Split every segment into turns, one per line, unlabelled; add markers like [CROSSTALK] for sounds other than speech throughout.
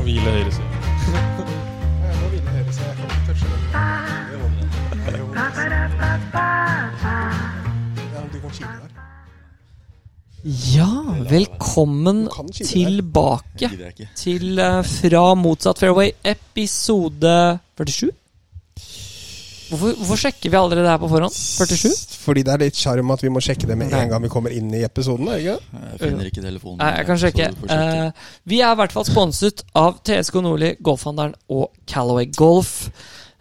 hvile høyresiden.
Jeg må vinne høyre, så jeg kan ikke touche den. Det er jo Ja, men du kan kile der.
Ja, velkommen
Du kan kile
tilbake
Gidder jeg ikke.
til eh, Fra motsatt fairway, episode 47. Hvorfor, hvorfor sjekker vi aldri det her på forhånd? 47?
Fordi det er litt sjarm at vi må sjekke det med en gang vi kommer inn i episoden. er det Ikke? det?
Jeg finner ikke telefonen.
Nei, jeg kan
så
sjekke.
du får sjekke.
Eh, vi er i hvert fall sponset av TSK Nordli, Golfhandelen og Callaway Golf.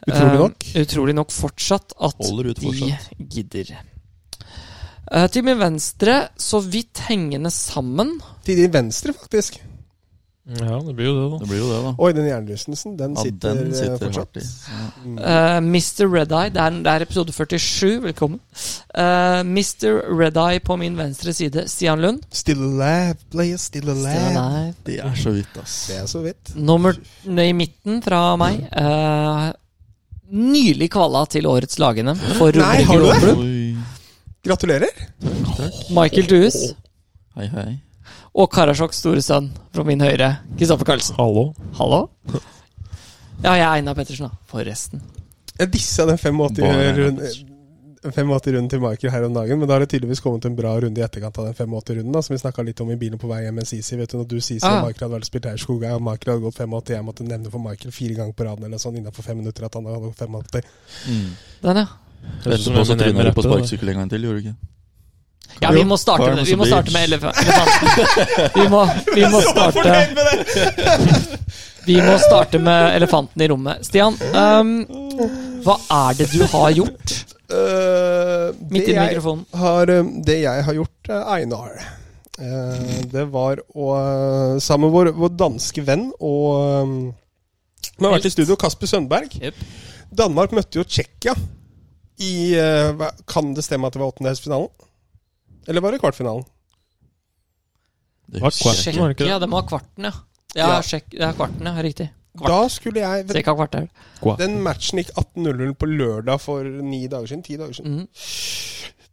Utrolig
Eh,
nok.
utrolig nok fortsatt at
Holder ut fortsatt.
de gidder. Eh, til min venstre, så vidt hengende sammen
Til din venstre, faktisk.
Ja, det blir jo det, da.
Det blir jo det, da.
Oi, den hjernerystelsen, den
Ja,
sitter,
den
eh,
sitter
fortsatt.
hardt i.
Eh, Mr. Red Eye, det er, det er episode 47, velkommen. Eh, Mr. Red Eye på min venstre side, Stian Lund.
Still alive, player, still
Stian
alive.
er
Det er så vidt, ass.
Det er så vidt.
Nummer i midten fra meg. eh, nylig kvala til årets lagene for
Nei,
rubriker
har du det?
Golfklubb.
Oi.
Gratulerer.
Michael Dues
Hei, hei.
og Karasjok store sønn fra min høyre, Kristoffer Karlsen.
Hallo.
Hallo? Ja, jeg er Einar Pettersen, da. Forresten.
Jeg dissa den 85
Bare
runden. 85 runden til Michael her om dagen, men da har det tydeligvis kommet en bra runde i etterkant av den 85-runden, da, som vi snakka litt om i bilen på vei hjem med Sisi. Vet du, når du Sisi
Ah.
og Michael hadde vel spilt Eierskog, og Michael hadde gått 85, jeg måtte nevne for Michael fire ganger på raden eller sånn innenfor fem minutter at han hadde gått 85.
Mm.
Den, ja.
Etterpå så
Eminem
tryna du på
rappet, da.
sparkesykkel en gang til, gjorde du ikke?
Ja, vi må starte
Karen
med, vi må
Moseby.
starte med elef- elefanten. Vi må, vi må starte [LAUGHS] Vi må starte med elefanten i rommet. Stian, ehm, hva er det du har gjort?
Eh, det
Midt i
jeg
mikrofonen.
har, eh, det jeg har gjort, eh, Einar eh, Det var å eh, Sammen med vår, vår danske venn og eh, Vi har vært i studio, Kasper Sønberg.
Jep.
Danmark møtte jo Tsjekkia i eh, hva- Kan det stemme at det var åttendedelsfinalen? Eller var det kvartfinalen?
Det
Hva,
husker jeg
Kvarten, var det ikke
Ja,
det?
det må ha kvarten, ja.
Ja.
Ja, sjekk, det er kvarten, ja. Riktig. Kvart.
Da skulle jeg vet,
Cirka kvart er det.
Den matchen gikk 18.00 på lørdag for ni dager siden. Ti dager siden.
Mhm.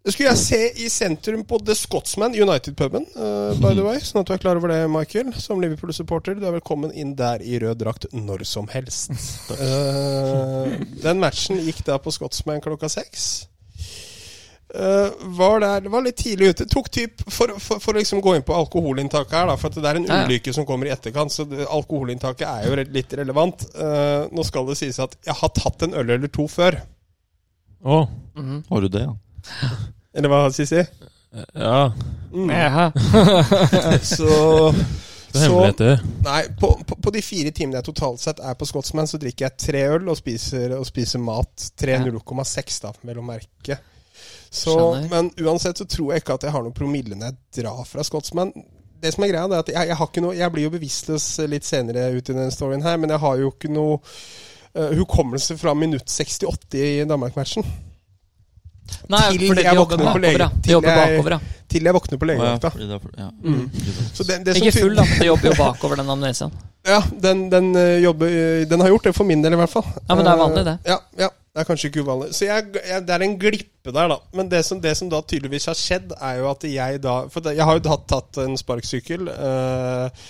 Det skulle jeg se i sentrum på The Scotsman, United-puben, eh, by the
Mhm.
way. Sånn at du er klar over det, Michael. Som Liverpool-supporter, du er velkommen inn der i rød drakt når som
[LAUGHS]
helst. Eh, den matchen gikk da på Scotsman klokka seks. Eh, var der, var litt tidlig ute. Tok typ, for, for, for å liksom gå inn på alkoholinntaket her, da, for at det er en
Ja, ja.
ulykke som kommer i etterkant, så det, alkoholinntaket er jo re litt relevant. Eh, nå skal det sies at jeg har tatt en øl eller to før.
Å.
Mhm.
ikke. Har du det, ja?
Eller hva, Sisi?
Ja.
Mm.
Ja.
[LAUGHS] Så,
Det er hemmelighet, det.
Nei, på, på, på de fire timene jeg totalt sett er på Scotsman, så drikker jeg tre øl og spiser, og spiser mat. Tre
Ja.
0,6, da, vel å merke. Så,
Skjønner.
men uansett så tror jeg ikke at jeg har noen promille når jeg drar fra Scotsman. Det som er greia, det er at jeg, jeg har ikke noe Jeg blir jo bevisstløs litt senere ut i den storyen her, men jeg har jo ikke noe eh, hukommelse fra minutt 68 i Danmark-matchen.
Nei,
Til
fordi
jeg
de jobber
våkner på lege-
bakover, ja.
til
De jobber
jeg-
bakover, ja.
Til jeg våkner
Å,
på
ja,
legevakta.
fordi det er for- ja.
Mm. Så det, det som
Ikke
tydelig-
full, da. men De jobber jo bakover den amnesiaen.
Ja, den, den, eh, jobber, eh, den har gjort det, for min del i hvert fall.
Ja, men det er
Eh,
vanlig, det.
Ja, ja, det er kanskje ikke uvanlig. Så jeg, jeg, det er en glippe der, da. Men det som, det som da tydeligvis har skjedd, er jo at jeg da For det, jeg har jo tatt, tatt en sparksykkel eh,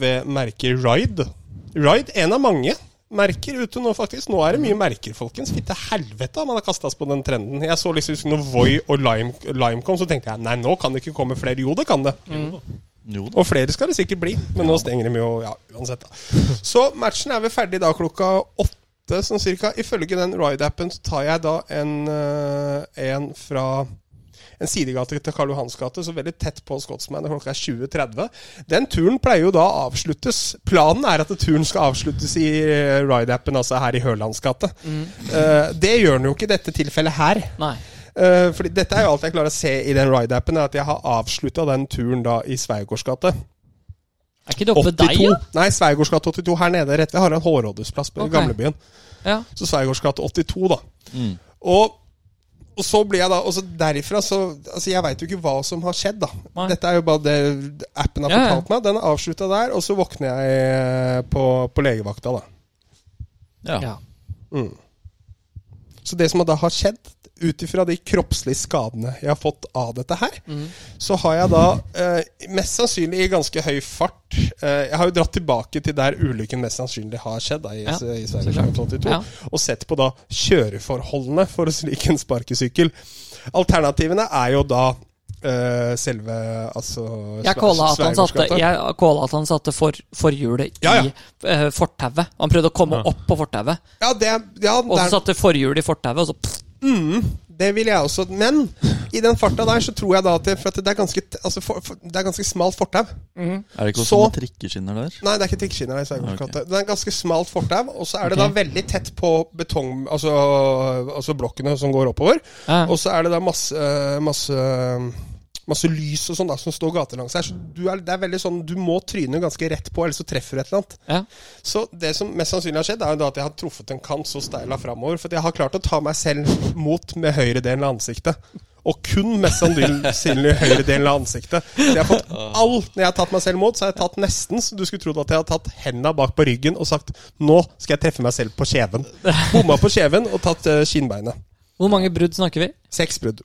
ved merket Ride. Ride, en av mange merker ute nå, faktisk. Nå er det mye merker, folkens. Fitte helvete om man har kasta seg på den trenden. Jeg så liksom husker når Voi og Lime, Lime kom, så tenkte jeg nei, nå kan det ikke komme flere. Jo, det kan det.
Mm.
Jo da.
Og flere skal det sikkert bli, men nå stenger de jo ja, uansett. da. Så matchen er vel ferdig da klokka åtte sånn cirka. Ifølge den ride-appen så tar jeg da en, eh, en fra en sidegate til Karl Johans gate, så veldig tett på Scotsman. og Klokka er 20.30. Den turen pleier jo da å avsluttes. Planen er at turen skal avsluttes i eh, ride-appen, altså her i Hørlands gate. Eh, det gjør den jo ikke i dette tilfellet her.
Nei.
Eh, fordi dette er jo alt jeg klarer å se i den ride-appen, er at jeg har avslutta den turen da i Sveigårds gate.
Er ikke det
82.
oppe ved deg, ja?
Nei, Sveigårds gate 82 her nede rett ved Harald Hårrådes plass på
Ok.
gamlebyen.
ja?
Så Sveigårds gate 82, da.
Mm.
Og, og så blir jeg da Og så derifra så Altså, jeg veit jo ikke hva som har skjedd, da.
Nei.
Dette er jo bare det appen har
Ja, ja.
fortalt meg. Den er avslutta der, og så våkner jeg eh, på, på legevakta, da.
Ja.
Ja.
Så det som da har skjedd, ut ifra de kroppslige skadene jeg har fått av dette her,
Mm.
så har jeg da eh, mest sannsynlig i ganske høy fart eh, Jeg har jo dratt tilbake til der ulykken mest sannsynlig har skjedd, da, i,
Ja,
i
så
Sverige
klart.
1982,
Ja.
og sett på da kjøreforholdene for slik en sparkesykkel. Alternativene er jo da eh, selve altså
Jeg kåla at han satte,
Sveigårdsgata.
jeg kåla at han satte for, forhjulet i
Ja, ja.
eh, fortauet. Han prøvde å komme
Ja.
opp på fortauet,
Ja, det, ja,
og så
der-
satte forhjulet i fortauet, og så pff,
Mm, det vil jeg også. Men i den farta der, så tror jeg da at det, for at det er ganske t- altså, for, for, Det er ganske smalt fortau.
Er det ikke også
Så-
noen trikkeskinner der?
Nei, det er ikke trikkeskinner der. i Sveigårdsgata.
Ok.
Det er ganske smalt fortau, og så er det
Ok.
da veldig tett på betong... Altså, altså blokkene som går oppover.
ja.
Og så er det da masse, eh, masse Masse lys og sånn da, som står gatelangs her. Så du er, det er veldig sånn, du må tryne ganske rett på, ellers så treffer du et eller annet.
Ja.
Så det som mest sannsynlig har skjedd, er jo da at jeg har truffet en kant så steila framover. For at jeg har klart å ta meg selv mot med høyre delen av ansiktet. Og kun mest sannsynlig høyre delen av ansiktet. Så jeg har fått all Når jeg har tatt meg selv mot, så har jeg tatt nesten så du skulle trodd at jeg har tatt henda bak på ryggen og sagt 'Nå skal jeg treffe meg selv på kjeven'. Bomma på kjeven og tatt eh, kinnbeinet.
Hvor mange brudd snakker vi?
Seks brudd.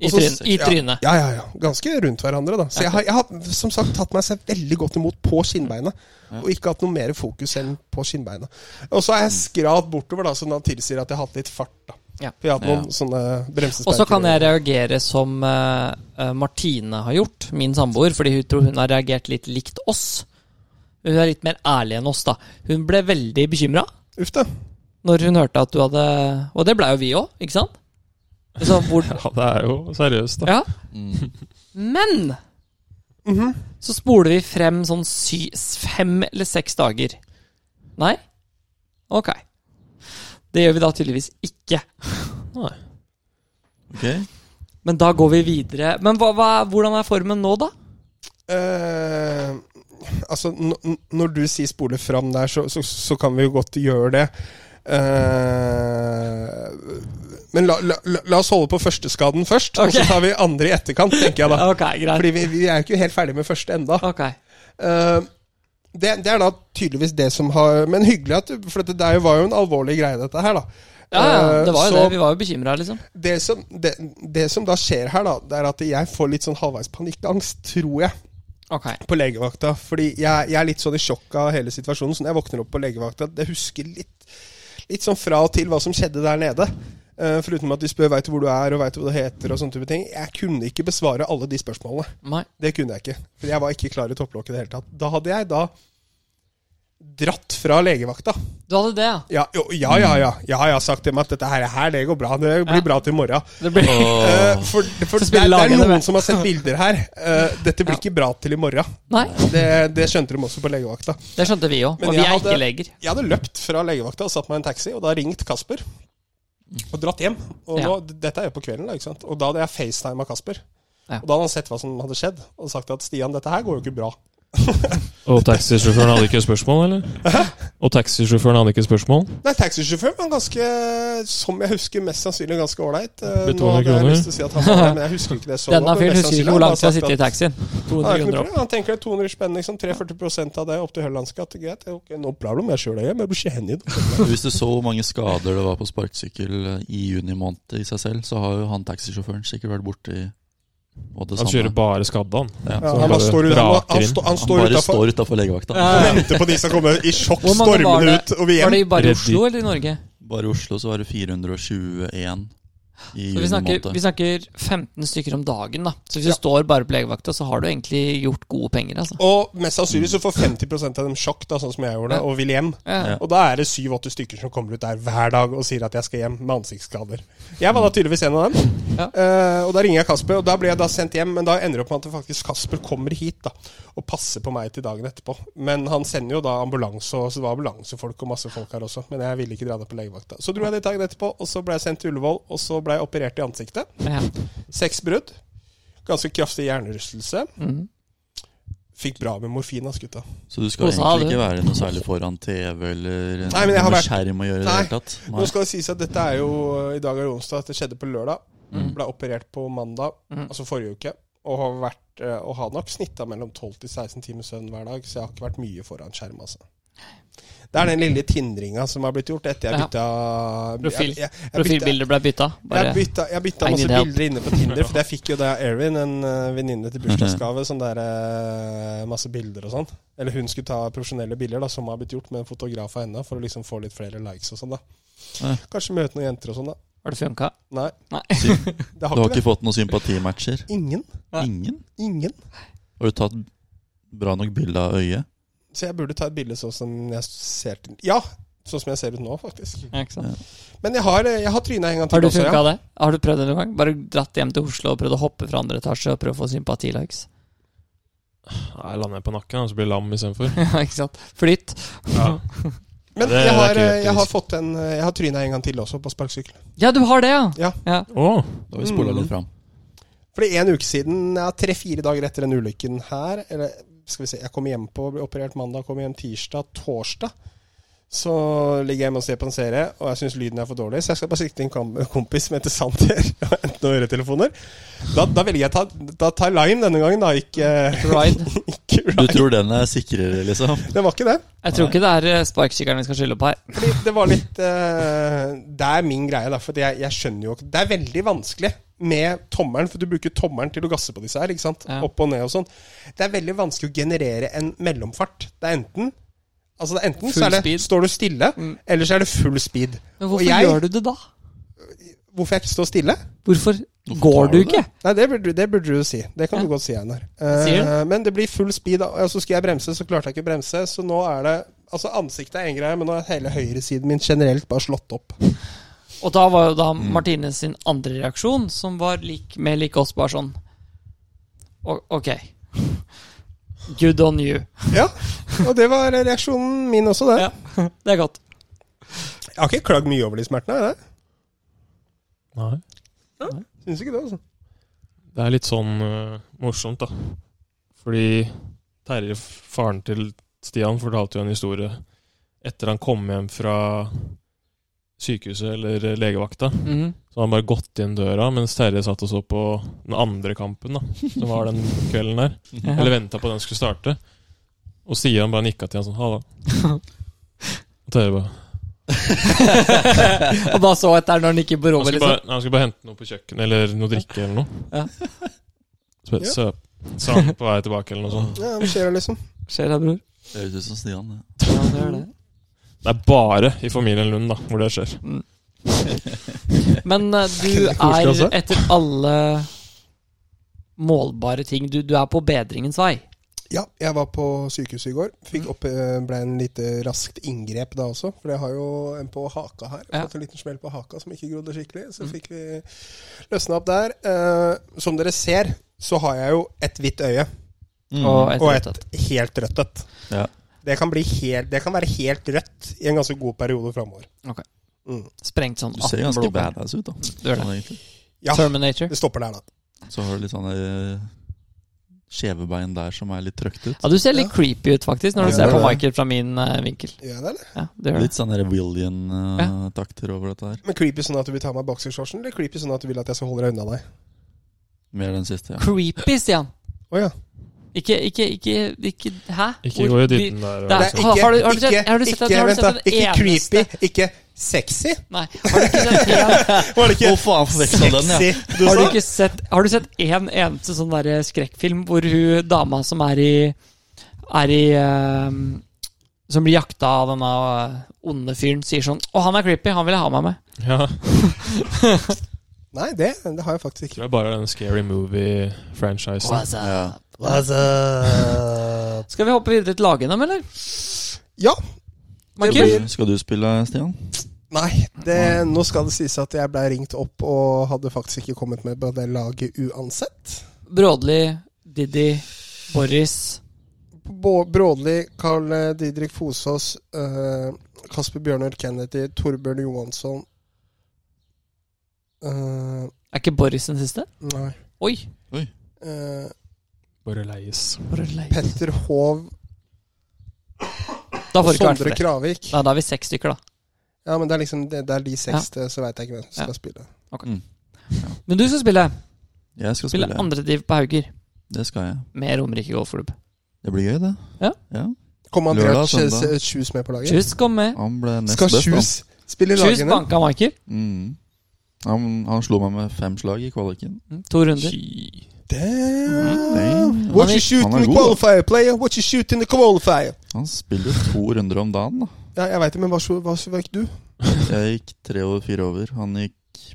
I,
Og så-
tryn, i
ja,
trynet.
Ja, ja, ja. Ganske rundt hverandre, da. Så jeg har, jeg har som sagt tatt meg selv veldig godt imot på kinnbeinet. Og ikke hatt noe mer fokus enn på kinnbeinet. Og så er jeg skrad bortover, da, som da tilsier at jeg har hatt litt fart. da.
Ja.
For jeg har hatt noen sånne bremsesperker.
Og så kan jeg reagere som eh, eh, Martine har gjort, min samboer, fordi hun tror hun har reagert litt likt oss. Hun er litt mer ærlig enn oss, da. Hun ble veldig bekymra
Uff da.
når hun hørte at du hadde Og det blei jo vi òg, ikke sant? Så hvor,
[LAUGHS]
Ja, det er jo seriøst, da.
ja.
Mm.
Men
Mhm.
så spoler vi frem sånn sy, fem eller seks dager. Nei? Ok. Det gjør vi da tydeligvis ikke.
Ok.
Men da går vi videre. Men hva, hva, hvordan er formen nå, da?
Eh, altså, n- n- når du sier spole fram der, så, så, så kan vi jo godt gjøre det. Eh, men la, la, la- la oss holde på førsteskaden først, og
Ok.
så tar vi andre i etterkant, tenker jeg da.
[LAUGHS] Ok, greit.
Fordi vi, vi er jo ikke helt ferdig med første enda.
Ok.
Eh, det, det er da tydeligvis det som har Men hyggelig at du For det der var jo en alvorlig greie, dette her, da.
Ja, ja, det var jo
Eh, så
det. Vi var jo bekymra, liksom.
Det som, det, det som da skjer her, da, det er at jeg får litt sånn halvveis panikkangst, tror jeg,
Ok.
på legevakta. Fordi jeg, jeg er litt sånn i sjokk av hele situasjonen. Så når jeg våkner opp på legevakta, det husker litt, litt sånn fra og til hva som skjedde der nede. Eh, foruten at de spør veit du hvor du er, og veit du hva du heter, og sånne type ting. Jeg kunne ikke besvare alle de spørsmålene.
Nei.
Det kunne jeg ikke. For jeg var ikke klar i topplokket i det hele tatt. Da hadde jeg da dratt fra legevakta.
Du hadde det, ja.
Ja, jo, ja, ja. ja. Ja, Jeg har sagt til meg at dette her, her det går bra. Det blir
Ja.
bra til i morgen.
Det ble...
Eh, for for
Så
det, er- det
spiller
er
lagene
noen
med.
som har sett bilder her. Eh, dette blir ikke bra til i morgen.
[LAUGHS] Nei,
Det, det skjønte de også på legevakta.
det skjønte vi òg.
Men
Og vi
jeg
er
hadde-
ikke leger.
Jeg hadde løpt fra legevakta og satt meg i en taxi, og da ringt Kasper. Og dratt hjem. Og nå,
Ja.
dette er jo på kvelden, da, ikke sant? og da hadde jeg facetima Kasper.
Ja.
Og da hadde han sett hva som hadde skjedd, og sagt at Stian, dette her går jo ikke bra.
Og taxisjåføren hadde ikke spørsmål, eller? Og taxisjåføren hadde ikke spørsmål?
Nei, taxisjåfør var ganske, som jeg husker, mest sannsynlig ganske ålreit. Eh,
Med
Nå
200
hadde jeg
kroner.
lyst til å si at han var det, men jeg husker ikke det så
Denne
godt, men mest
fyren husker ikke
sannsynlig
hvor
har
langt vi har
han
sittet i
bare sagt
taxien.
at- Ja, det er ikke noe
200 kroner opp.
problem. Han tenker det er 200 spenn, liksom. 43 av det opp til Høllandskatt. Greit, ok, no problem. Jeg kjører det hjem. Jeg blir ikke hengitt.
Hvis du så hvor mange skader det var på sparkesykkel eh, i juni måned i seg selv, så har jo han taxisjåføren sikkert vært borti og det
Han kjører
samme.
bare skadda, han.
Ja.
Ja,
Så
han,
bare
bare står, ut- han,
raker
han,
inn.
stå, han
Han
står
bare
utafor
står utafor legevakta.
Ja,
og
ja, ja.
venter på de som kommer i sjokk
Hvor mange var
stormende
det?
ut og
Var
hjem.
det bare i
Reddit.
Oslo eller i Norge?
Bare i Oslo så var det 421 i
Så
juni
vi snakker, vi
måned.
snakker 15 stykker om dagen, da. Så hvis
Ja.
du står bare på legevakta, så har du egentlig gjort gode penger, altså.
Og mest sannsynlig så får 50 av dem sjokk, da, sånn som jeg gjorde,
Ja.
og vil hjem.
Ja.
Og da er det syv-åtte stykker som kommer ut der hver dag og sier at jeg skal hjem med ansiktsskader. Jeg var da tydeligvis en av dem.
Ja.
Eh, og da ringer jeg Kasper, og da blir jeg da sendt hjem. Men da ender det opp med at faktisk Kasper kommer hit da og passer på meg til dagen etterpå. Men han sender jo da ambulanse, og så det var ambulansefolk og masse folk her også. Men jeg ville ikke dra det på legevakta. Så dro jeg dit dagen etterpå, og så ble jeg sendt til Ullevål, og så ble jeg operert i ansiktet.
Ja.
Seks brudd. Ganske kraftig hjernerystelse.
Mhm.
Fikk bra med morfin, ass, gutta.
Så du skal
Hva sa
egentlig
du?
ikke være noe særlig foran TV eller
Nei, men jeg har
noe
vært-
skjerm å gjøre i det
Nei.
hele tatt.
Nå
Nei.
skal det sies at dette er jo eh, I dag er det onsdag. Dette skjedde på lørdag. Ble operert på mandag,
Mm.
altså forrige uke. Og har, vært, eh, og har nok snitta mellom 12 til 16 timer søvn hver dag, så jeg har ikke vært mye foran skjerm. altså. Det er den lille tindringa som har blitt gjort etter jeg
Ja.
bytta
Profil.
jeg- jeg- jeg bytta-
Profilbilder ble bytta.
Jeg
Bare
bytta, jeg bytta
I
masse
need help.
bilder inne på Tinder, for jeg fikk jo da Erin, en eh, venninne til bursdagsgave, sånn der eh, masse bilder og sånn. Eller hun skulle ta profesjonelle bilder, da, som har blitt gjort med en fotograf av henne, for å liksom få litt flere likes og sånn, da.
Ja.
Kanskje møte noen jenter og sånn, da.
Har det funka?
Nei.
Nei.
[LAUGHS] Det
Du
har
har
ikke det.
ikke fått noen sympatimatcher?
Ingen.
Nei.
Ingen?
Ingen.
Har du tatt bra nok bilde av øyet?
Så jeg burde ta et bilde sånn som jeg ser til Ja! Sånn som jeg ser ut nå, faktisk.
Ja, ikke sant?
Men jeg har, eh, jeg har tryna en gang
Har
til
du
også,
funka
ja.
det? Har du prøvd det noen gang? Bare dratt hjem til Oslo og prøvd å hoppe fra andre etasje og prøve å få sympatilikes?
Nei, jeg lander på nakken, og så blir jeg lam istedenfor.
[LAUGHS] Ja, ikke sant? Flytt.
Men
Det er
jeg har,
ikke
eh,
helt
jeg har,
trist.
fått en, eh, jeg har tryna en gang til også, på sparkesykkel.
Ja, du har det, ja!
Ja.
Å,
Da har vi spola
Mm.
litt fram.
Fordi en uke siden, ja, tre-fire dager etter den ulykken her Eller skal vi se, jeg kom hjem på ble operert mandag, kom hjem tirsdag, torsdag. Så ligger jeg hjemme og ser på en serie, og jeg syns lyden er for dårlig, så jeg skal bare sikte en kam- kompis som heter Sander, [LAUGHS] og hente noen øretelefoner. Da, da velger jeg ta, da tar jeg Lime denne gangen, da. Ikke,
Ride.
[LAUGHS] ikke
Du
Ride.
tror den er sikrere, liksom?
Det var ikke det.
Jeg tror ikke det er eh, sparkesykkelen vi skal skylde på her.
Fordi det var litt eh, Det er min greie, da. For jeg, jeg skjønner jo ikke Det er veldig vanskelig med tommelen, for du bruker tommelen til å gasse på disse her. ikke sant?
Ja.
Opp og ned og sånn. Det er veldig vanskelig å generere en mellomfart. Det er enten Altså det er enten så
Full
er det,
speed.
står du stille,
Mm.
eller så er det full speed.
Men
Og
hvorfor
jeg-
gjør du det da?
Hvorfor jeg ikke står stille?
Hvorfor,
Hvorfor
går
tar
du
du
ikke?
Nei, det burde, det burde du si. Det kan
Ja.
du godt si, Einar.
sier
Eh, men det blir full speed, da. og så skulle jeg bremse, så klarte jeg ikke å bremse. Så nå er det Altså, ansiktet er én greie, men nå er hele høyresiden min generelt bare slått opp.
Og da var jo da Martines sin andre reaksjon, som var lik, mer lik oss, bare sånn O Ok. Good on you.
Ja, [LAUGHS] og det var reaksjonen min også, det.
Ja. Det er godt.
Jeg har ikke klagd mye over de smertene. har jeg det?
nei.
Syns ikke det, altså.
Det er litt sånn øh, morsomt, da. Fordi Terje, faren til Stian, fortalte jo en historie etter han kom hjem fra sykehuset eller legevakta.
Mhm.
Så han bare gått inn døra, mens Terje satt og så på den andre kampen, da. Som var den kvelden
[LAUGHS]
der. Eller venta på at den skulle starte. Og Stian bare nikka til han sånn ha
[LAUGHS]
det. Og Terje bare
Og da så jeg etter når han gikk inn på
han
rommet,
skulle,
liksom.
bare, han skulle bare hente noe på kjøkkenet, eller noe drikke eller noe.
Ja.
Så bare, «Søp», sa han på vei tilbake eller noe sånt.
Ja, men skjer det liksom.
Skjer det, bror?
Høres ut som Stian. det.
Ja, det gjør det.
Det er bare i familien Lund da, hvor det skjer.
Men eh, du
Det er koselig,
er
altså.
etter alle målbare ting Du, du er på bedringens vei.
Ja, jeg var på sykehuset i går. Fikk opp, eh, ble en lite raskt inngrep da også. For jeg har jo en på haka her.
Ja.
Fått en liten smell på haka som ikke grodde skikkelig. Så fikk vi løsna opp der. Eh, som dere ser, så har jeg jo et hvitt øye
Mm.
Og et
og
rødt
et helt rødt et.
Ja.
Det kan, bli helt, det kan være helt rødt i en ganske god periode framover.
Ok.
Mm.
Sprengt sånn
Du ser
18
ganske
blodbær.
badass ut, da.
Du gjør det.
Sånn, egentlig.
Ja,
Terminator.
det stopper der, da.
så har du litt sånne eh, skjeve bein der som er litt trøkt ut.
Ja, du ser litt creepy ut, faktisk, når du
Ja,
ser
det
på
er det.
Michael fra min eh, vinkel.
Gjør jeg det, eller?
Ja, det gjør det.
Litt sånn William-takter eh, over dette her.
Men creepy sånn at du vil ta av meg boksershortsen, eller creepy sånn at du vil at jeg skal holde deg unna deg?
Mer den siste, ja.
Creepy, Stian.
Å ja.
Ikke, ikke, ikke, ikke Hæ?
Ikke
Hvor-
gå i
vi-
dybden der.
Det er-
altså.
har- har du- har du sett- har du sett at-
ikke,
har du
vent
sett
da,
den
ikke
eneste-
creepy, ikke sexy.
Nei. Har du ikke sett en, [LAUGHS]
Var
Å,
det ikke
faen, forveksla den, Sånn, ja!
sexy du
har du
sa?
ikke sett, har du sett en eneste sånn derre skrekkfilm hvor hun dama som er i Er i ehm, Som blir jakta av denne eh, onde fyren, sier sånn Å, han er creepy, han vil jeg ha meg med.
Ja,
Nei, det, det har jeg faktisk ikke.
tror jeg bare den scary movie-franchisen.
What's
ja.
up? Skal vi hoppe videre til lagene, eller?
[LAUGHS] Ja.
Michael?
Skal du- Skal du spille, Stian?
Nei, det, nå skal det sies at jeg ble ringt opp og hadde faktisk ikke kommet med på det laget uansett.
Brådli, Diddy, Boris
Bå- Brådli, Carl eh, Didrik Fosås, eh, Kasper Bjørnar Kennedy, Torbjørn Johansson Eh,
Er ikke Boris den siste?
Nei.
Oi!
Eh,
Bare leies.
hvor er det leit.
Petter Hov
Da
og
får det ikke vært
Sondre
flere.
Kravik.
Nei, da er vi seks stykker, da.
Ja, men det er liksom det, det er de seks, det, så veit jeg ikke hvem som skal
Ja.
spille.
Men du skal spille.
Jeg skal
Spille
spille.
andrediv på Hauger
Det skal jeg.
med Romerike Golfklubb.
Det blir gøy, det.
Ja.
ja.
Kom
Lørdag,
Andreas
søndag.
Kjus- Kjus med på laget?
Kjus kom med.
Han ble nest
Skal
best. han.
Kjus spille i
Kjus
lagene?
banka Michael.
Mm. Han, han slo meg med fem slag i kvaliken.
Mm, To runder.
Ki-
Damn.
Nei.
What
Han er-
you shoot
Mhm. han er
in the
god, da.
qualifier, player? What you shoot in the qualifier?
Han spiller jo to runder om dagen. da
Ja, jeg veit det, men hva så- hva så gikk du?
Jeg gikk tre over fire over. Han gikk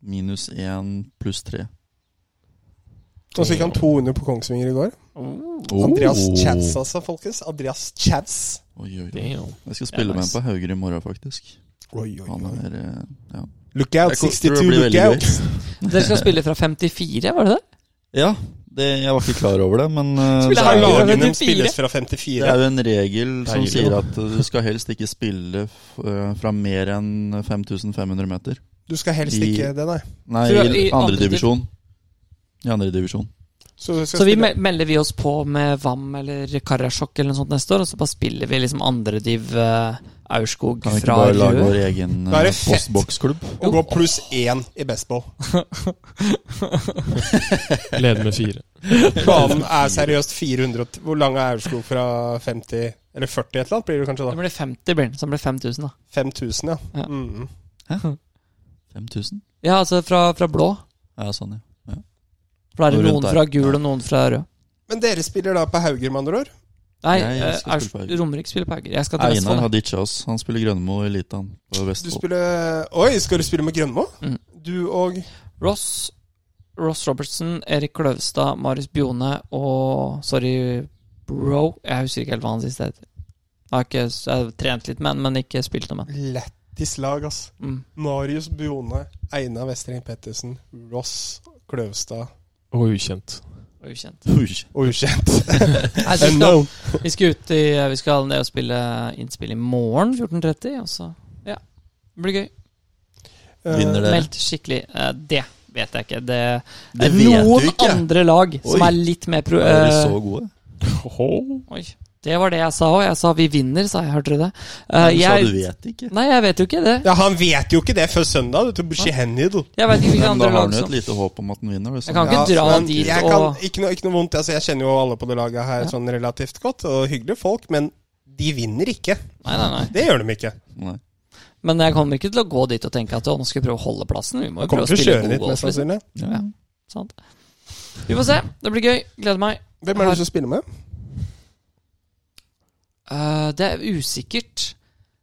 minus én pluss tre.
Og så gikk han 200 på Kongsvinger i går.
Oh,
Andreas Chads, altså, folkens. Andreas Chads.
Oi, oi, oi.
Damn.
Jeg skal spille
Ja, nice.
med ham på Hauger i morgen, faktisk.
Oi, oi,
Han
oi.
er eh, ja.
Look out,
Jeg tror det
62,
blir
look
veldig
out!
gøy.
Dere skal spille fra 54, var det det?
Ja, det, jeg var ikke klar over det, men eh,
Spiller
det,
han
er jo,
lag?
Lagene
54.
spilles fra
det er
54.
jo en regel som
Deilig,
sier
da.
at eh, du skal helst ikke spille f- eh, fra mer enn 5500 meter.
Du skal helst
I-
ikke det, nei.
Nei, i
Så i andre div-
andredivisjon. I andredivisjon.
Så, du skal
Så vi
spille-
mel- melder vi oss på med Vam eller Karasjok eller noe sånt neste år, og så bare spiller vi liksom andrediv uh, Aurskog
Kan vi ikke
fra
bare lage
Rød.
vår egen
Da er
eh,
det fett.
postboksklubb?
Og gå pluss én i bestball.
Leder med fire.
Banen er seriøst 400 og t- Hvor lang er Aurskog fra 50 Eller 40 et eller annet blir det kanskje
Det
da?
blir 50, blir den, så det blir 5000, da.
5000, ja.
Ja.
Mhm.
5000?
Ja, altså fra, fra blå.
Ja, sånn, ja.
For da er
Og
det
rundt
noen
der.
fra gul og noen fra rød.
Men dere spiller da på Hauger, med andre ord?
Nei,
Nei, jeg
eh,
skal spille på
Aursk-
Hauger.
Romerike spiller på Hauger. Jeg skal til
Einar
Vestfold.
har ditcha oss. Han spiller Grønmo i Elitaen på
Du
Vestfold.
spiller Oi, skal du spille med Grønmo?
Mhm.
Du og
Ross, Ross Robertson, Erik Kløvstad, Marius Bjone og Sorry, bro. Jeg husker ikke helt hva han siste heter. Jeg har ikke jeg har trent litt med han, men ikke spilt noe med han.
Lættis lag, ass.
Mm.
Marius Bjone, Einar Westring Pettersen, Ross Kløvstad
Og ukjent.
[LAUGHS]
og Ukjent.
[LAUGHS] Ui.
og ukjent.
Nei, så vi, skal,
Unknown.
vi skal ut i Vi skal ned og spille innspill i morgen 14.30, og så Ja. Det blir gøy.
Vinner
Eh,
Dere.
Meldt skikkelig. Eh, Det vet jeg ikke. Det,
Det
er
vet du
noen
ikke.
andre lag som
Oi.
er litt mer pro...
Er de
eh,
så gode?
Oi. Det var det jeg sa òg. Jeg sa 'vi vinner', sa jeg. Hørte dere det? Eh,
Du sa
jeg,
du vet ikke.
Nei, jeg vet jo ikke det.
Ja, han vet jo ikke det før søndag. Du tror ikke hen i det.
Jeg vet ikke
Nei,
hvilke
Men da
andre
har
lag
han jo
som
et lite håp om at han vinner.
Jeg kan ikke
ja.
dra
men
dit
jeg
og-
kan, ikke, noe, ikke noe vondt. Altså, jeg kjenner jo alle på det laget her
Ja.
sånn relativt godt, og hyggelige folk, men de vinner ikke.
Nei, nei, nei.
Det gjør de ikke.
Nei.
Men jeg kommer ikke til å gå dit og tenke at «Å, nå skal vi prøve å holde plassen. Vi
De
må jo prøve
kommer
å
til å
spille
kjøre
god
litt,
golf.
mest
Liksom.
sannsynlig.
Ja.
Sant. Vi får se. Det blir gøy. Gleder meg.
Hvem er det du skal spille med?
Eh, det er usikkert.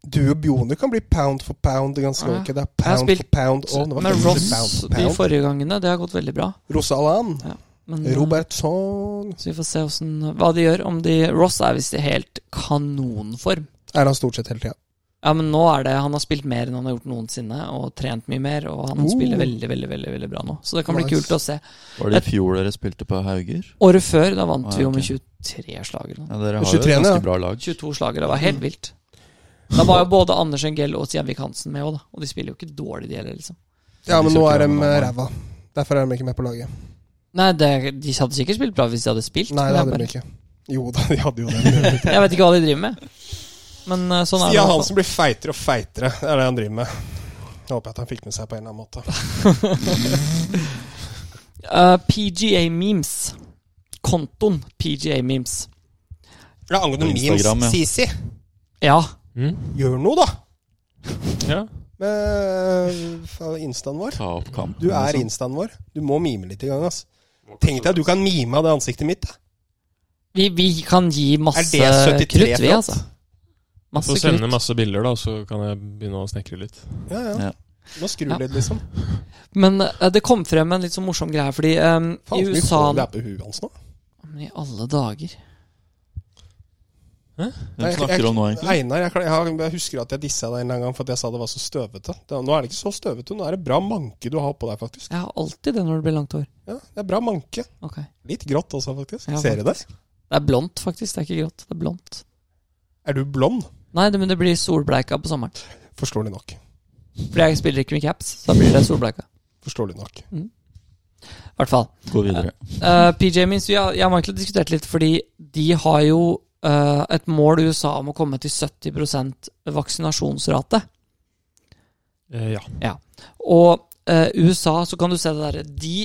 Du og Bjone kan bli pound for pound ganske
Ja.
ok. Det er
Jeg har
pound for
spilt
pound. Å, det var
Med
fint.
Ross
Pound for
de
pound.
forrige gangene. Det har gått veldig bra.
Rosalan.
Men, eh,
Robertson.
Så vi får se hvordan, hva de gjør. Om de, Ross er visst i helt kanonform.
Er han stort sett hele tida.
Ja, men nå er det Han har spilt mer enn han har gjort noensinne, og trent mye mer. Og han
Oh.
spiller veldig, veldig veldig, veldig bra nå. Så det kan bli
Nice.
kult å se.
Var det i fjor dere spilte på Hauger?
Året før, da vant
Ah,
vi jo
ok.
med 23 slag eller noe.
Ja, dere har jo
23,
et
ja.
ganske bra lag.
22 slagere. Det var helt vilt. Da var jo både Anders Engell og Stjernvik Hansen med òg, da. Og de spiller jo ikke dårlig, de heller, liksom.
Ja,
de
men
skal
nå
ikke
er
ha
de
noen
eh,
mann.
ræva. Derfor er de ikke med på laget.
Nei, det, de hadde sikkert spilt bra hvis de hadde spilt.
Nei,
men
det
jeg,
hadde de
bare,
ikke. Jo da, de
[LAUGHS]
hadde jo det.
jeg vet ikke hva de driver med. Men eh, sånn er
Stian
det. i hvert fall.
Hansen blir feitere og feitere. Det er det han driver med. Jeg håper at han fikk med seg på en eller annen måte.
Eh, PGA Memes. Kontoen PGA Memes.
Det er
På
angående
Instagram,
memes,
ja.
Sisi.
Ja.
Mm?
Gjør noe, da!
Ja.
Med fra instaen vår.
Ta opp kampen.
Du er
liksom.
instaen vår. Du må mime litt i gang, ass. Tenk deg at du kan mime av det ansiktet mitt. Da.
Vi, vi kan gi masse
Er det 73
krutt, vi,
flott?
altså. Masse
Så sende
krutt.
masse bilder, da, så kan jeg begynne å snekre litt.
Ja, ja.
Ja.
Nå skrur
Ja.
det litt, liksom.
Men eh, det kom frem en litt sånn morsom greie, fordi eh,
Faen, så
i
mye
USA
hår det er på huet hans nå.
Men i alle dager
Hvem snakker du om nå, egentlig?
Einar, jeg, kla- jeg, har- jeg husker at jeg dissa deg en eller annen gang for at jeg sa det var så støvete. Da, nå er det ikke så støvete. Nå er det bra manke du har på deg, faktisk.
Jeg har alltid det når det blir langt hår.
Ja, det er bra manke.
Ok Det
Litt grått også, faktisk.
Ja,
Ser du det?
er blondt, faktisk. Det er ikke grått. Det er blondt.
Er du blond?
Nei, det, men det blir solbleika på sommeren.
Forståelig nok.
Fordi jeg spiller ikke med caps, så da blir det solbleika.
Forståelig nok.
I hvert fall.
Gå videre.
Eh, PJ Means, vi har, jeg og Michael har diskutert litt, fordi de har jo eh, et mål i USA om å komme til 70 vaksinasjonsrate.
Eh, ja.
Og eh, USA, så kan du se det derre De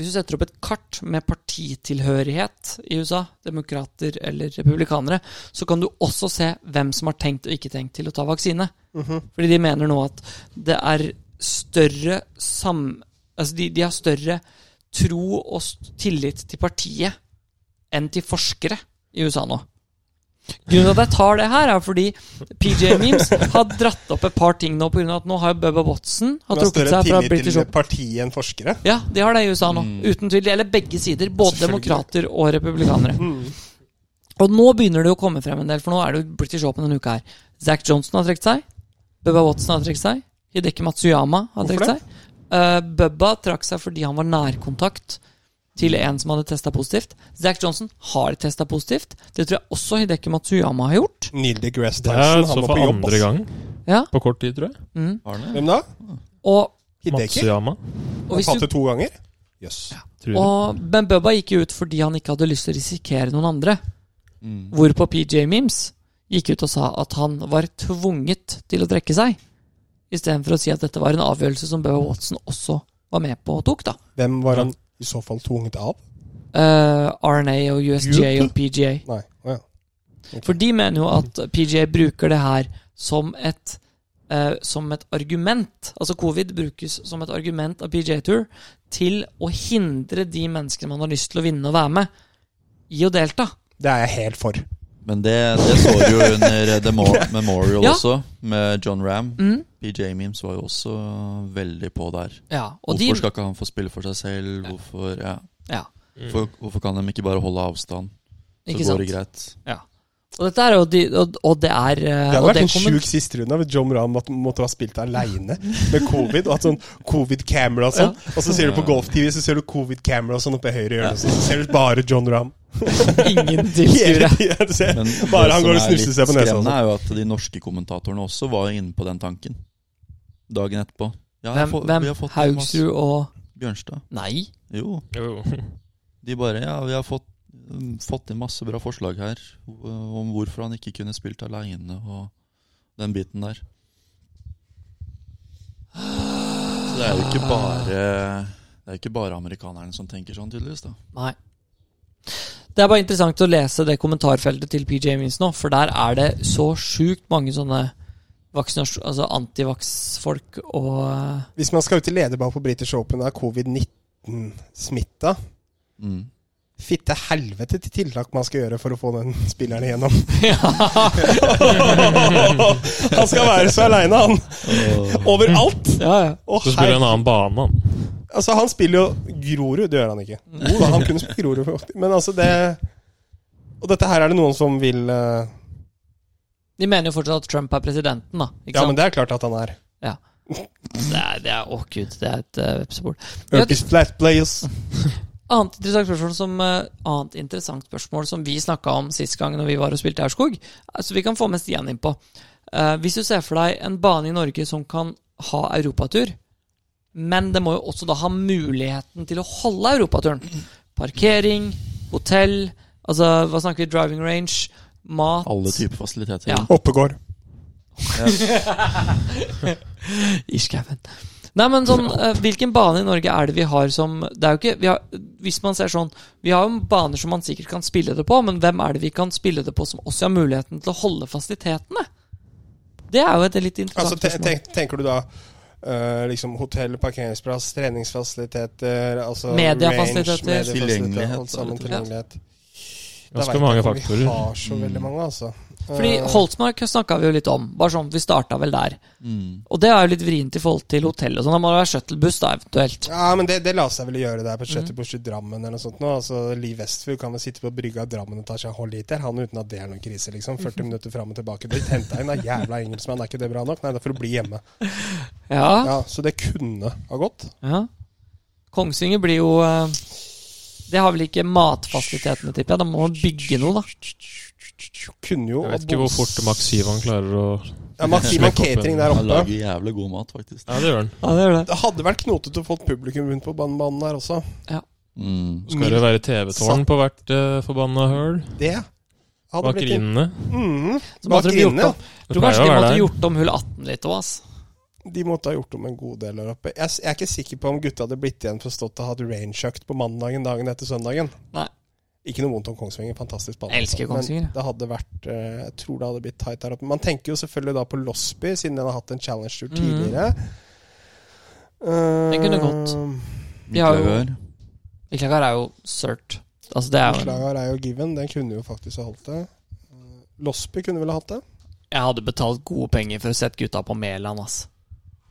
Hvis du setter opp et kart med partitilhørighet i USA, demokrater eller republikanere, så kan du også se hvem som har tenkt og ikke tenkt til å ta vaksine.
Mhm.
Fordi de mener nå at det er større sam... Altså de, de har større tro og s- tillit til partiet enn til forskere i USA nå. Grunnen til at jeg tar det her, er fordi PJ
[LAUGHS]
Memes har dratt opp et par ting nå pga. at nå har jo Bubba Watson har
Men det er
trukket
større
seg fra
tillit
British
til
Open.
partiet enn forskere.
Ja, de har det i USA nå.
Mm.
Uten tvil. Det gjelder begge sider. Både
Selvfølgelig.
demokrater og republikanere.
Mm.
Og nå begynner det å komme frem en del, for nå er det jo British Open denne uka her. Zack Johnson har trukket seg. Bubba Watson har trukket seg. Hideki Matsuyama har
Hvorfor
trukket seg. Eh, Bubba trakk seg fordi han var nærkontakt til en som hadde testa positivt. Zack Johnson har testa positivt. Det tror jeg også Hideki Matsuyama har gjort.
Neil deGrasse
Det er så
Tyson, han var
for
på jobb.
andre
ass.
gang
Ja.
på kort tid, tror jeg.
Mm.
Har den det?
Hvem da?
Og,
Hideki?
Matsuyama.
og
Han
hvis
satt
du
det to ganger? Jøss. Yes.
Tror jeg.
og, Men Bubba gikk jo ut fordi han ikke hadde lyst til å risikere noen andre.
Mm.
Hvorpå PJ Memes gikk ut og sa at han var tvunget til å trekke seg. Istedenfor å si at dette var en avgjørelse som Bubba Watson også var med på og tok. da.
Hvem var han i så fall tvunget av?
Eh, RNA og USGA og PGA.
Nei. Å ja.
For de mener jo at PGA bruker det her som et eh, som et argument. Altså covid brukes som et argument av PGA Tour til å hindre de menneskene man har lyst til å vinne og være med, i å delta.
Det er jeg helt for.
Men det, det så du jo under eh, The Mo Memorial
Ja.
også, med John Ram.
Mm.
PJ Memes var jo også veldig på der.
Ja, og
Hvorfor
de,
skal ikke han få spille for seg selv? Hvorfor, ja.
ja,
Mm.
Hvorfor, hvorfor kan de ikke bare holde avstand? Så
ikke
går
sant?
det greit.
Og dette er jo de, og, og det er eh,
Det hadde
og
vært en
kommer-
sjuk siste runde hvis John Rahm måtte, måtte ha spilt aleine med covid. Og hatt sånn covid-camera og sånn. Og så ser du på golf-TV, så ser du covid-camera og sånn oppe i høyre hjørne. og sånn, Så ser du bare John
[LAUGHS]
Rahm. [LAUGHS]
Ingen
Hele
tilskuere.
tiden, du ser.
Men
Bare
det
han
som
går og
er
snufser
litt
seg på nesa. og
skremmende
sånn.
er jo at de norske kommentatorene også var inne på den tanken dagen etterpå. Ja, jeg
Hvem?
får-
hvem?
[LAUGHS] vi har fått en masse-
Haugsrud og
Bjørnstad.
Nei.
Jo,
Jo.
de bare Ja, vi har fått, mm, fått inn masse bra forslag her eh, om hvorfor han ikke kunne spilt aleine og den biten der. Så det er jo ikke bare Det er ikke bare amerikanerne som tenker sånn, tydeligvis. da
Nei. Det er bare interessant å lese det kommentarfeltet til PJ Means nå, for der er det så sjukt mange sånne vaksinasjon... Altså antivax-folk og eh,
Hvis man skal ut i lederball på British Open og er covid-19-smitta
mm.
Fitte helvete til tiltak man skal gjøre for å få den spilleren igjennom.
[LAUGHS]
eh,
[LAUGHS] han skal være så aleine, han. Overalt.
[LAUGHS] Ja, ja.
Å,
Så spiller jeg en annen bane, han.
Altså, han spiller jo Grorud, det gjør han ikke. Jo da, han kunne spille Grorud, faktisk. men altså det Og dette her er det noen som vil eh,
De mener jo fortsatt at Trump er presidenten, da. Ikke
Ja, men
sant?
det er klart at han er.
det er, det er, Å, gud. Det er et uh, vepsebol. Ja,
Urkis flat players.
Annet interessant spørsmål som, eh, annet interessant spørsmål som vi snakka om sist gang når vi var og spilte Aurskog, eh, så vi kan få med Stian inn på. Eh, hvis du ser for deg en bane i Norge som kan ha europatur, men det må jo også da ha muligheten til å holde europaturen. Parkering, hotell, altså hva snakker vi, driving range, mat
Alle typer fasiliteter.
Ja.
Oppegård.
I skauen. Nei, men sånn, eh, hvilken bane i Norge er det vi har som Det er jo ikke vi har, Hvis man ser sånn Vi har jo baner som man sikkert kan spille det på, men hvem er det vi kan spille det på som også har muligheten til å holde fasilitetene? Det er jo et litt
Altså,
interessant
te-
spørsmål.
tenk, tenker du da eh, liksom hotell, parkeringsplass, treningsfasiliteter altså
Mediafasiliteter.
range, mediafasiliteter,
Tilgjengelighet,
Alt sammen
ja.
tilgjengelighet. Da vet
Ganske
jeg
mange
ikke om
faktorer.
Vi har så veldig mange, altså.
Mm. Fordi
Eh,
Holtsmark snakka vi jo litt om. Bare sånn, Vi starta vel der.
Mm.
Og det er jo litt vrient i forhold til hotell og sånn. Da må det være shuttlebuss, da, eventuelt.
Ja, men det, det la seg vel gjøre der på
Mhm.
Chetterbush i Drammen eller noe sånt. Nå. Altså, Liv Westfjord kan vel sitte på brygga i Drammen og ta seg en halv liter, han uten at det er noen krise, liksom.
Mhm.
40 minutter fram og tilbake. Blitt henta inn av jævla engelskmann, er ikke det bra nok? Nei, det er for å bli hjemme.
Ja.
Ja, Så det kunne ha gått.
ja. Kongsvinger blir jo eh, Det har vel ikke matfasilitetene, tipper jeg. Da må man bygge noe, da.
Kunne jo
Jeg vet ikke hvor fort Max Sivan klarer å
Ja, Maxima Catering der
Han
oppe.
lager jævlig god mat, faktisk.
Ja, det gjør han.
Ja, det gjør det.
Det hadde vært knotete å få publikum rundt på banebanen der også.
Mm.
Skal det være TV-tårn på hvert uh, forbanna høl?
Det hadde blitt
Bakerinnene.
mm,
Så måtte de gjort
Bakerinnene.
opp.
Det
Jeg tror
pleier
kanskje
å
de
være
måtte
der.
gjort om hull 18 litt òg, ass.
De måtte ha gjort om en god del der oppe. Jeg, s- jeg er ikke sikker på om gutta hadde blitt igjen for å stått og hatt rangeøkt på mandagen dagen etter søndagen.
Nei.
Ikke noe vondt om Kongsvinger, fantastisk bane.
Jeg elsker Kongsvinger.
Men det hadde vært eh, Jeg tror det hadde blitt tight der oppe. Man tenker jo selvfølgelig da på Losby, siden den har hatt en challenge-tur
Mhm.
tidligere. Eh,
Den kunne gått. De har jo-
Miklauer.
Miklagar er jo cert. Altså, det er jo
Forslaget er jo given. Den kunne jo faktisk ha holdt det. Eh, Losby kunne vel ha hatt det?
Jeg hadde betalt gode penger for å sette gutta på Mæland, ass.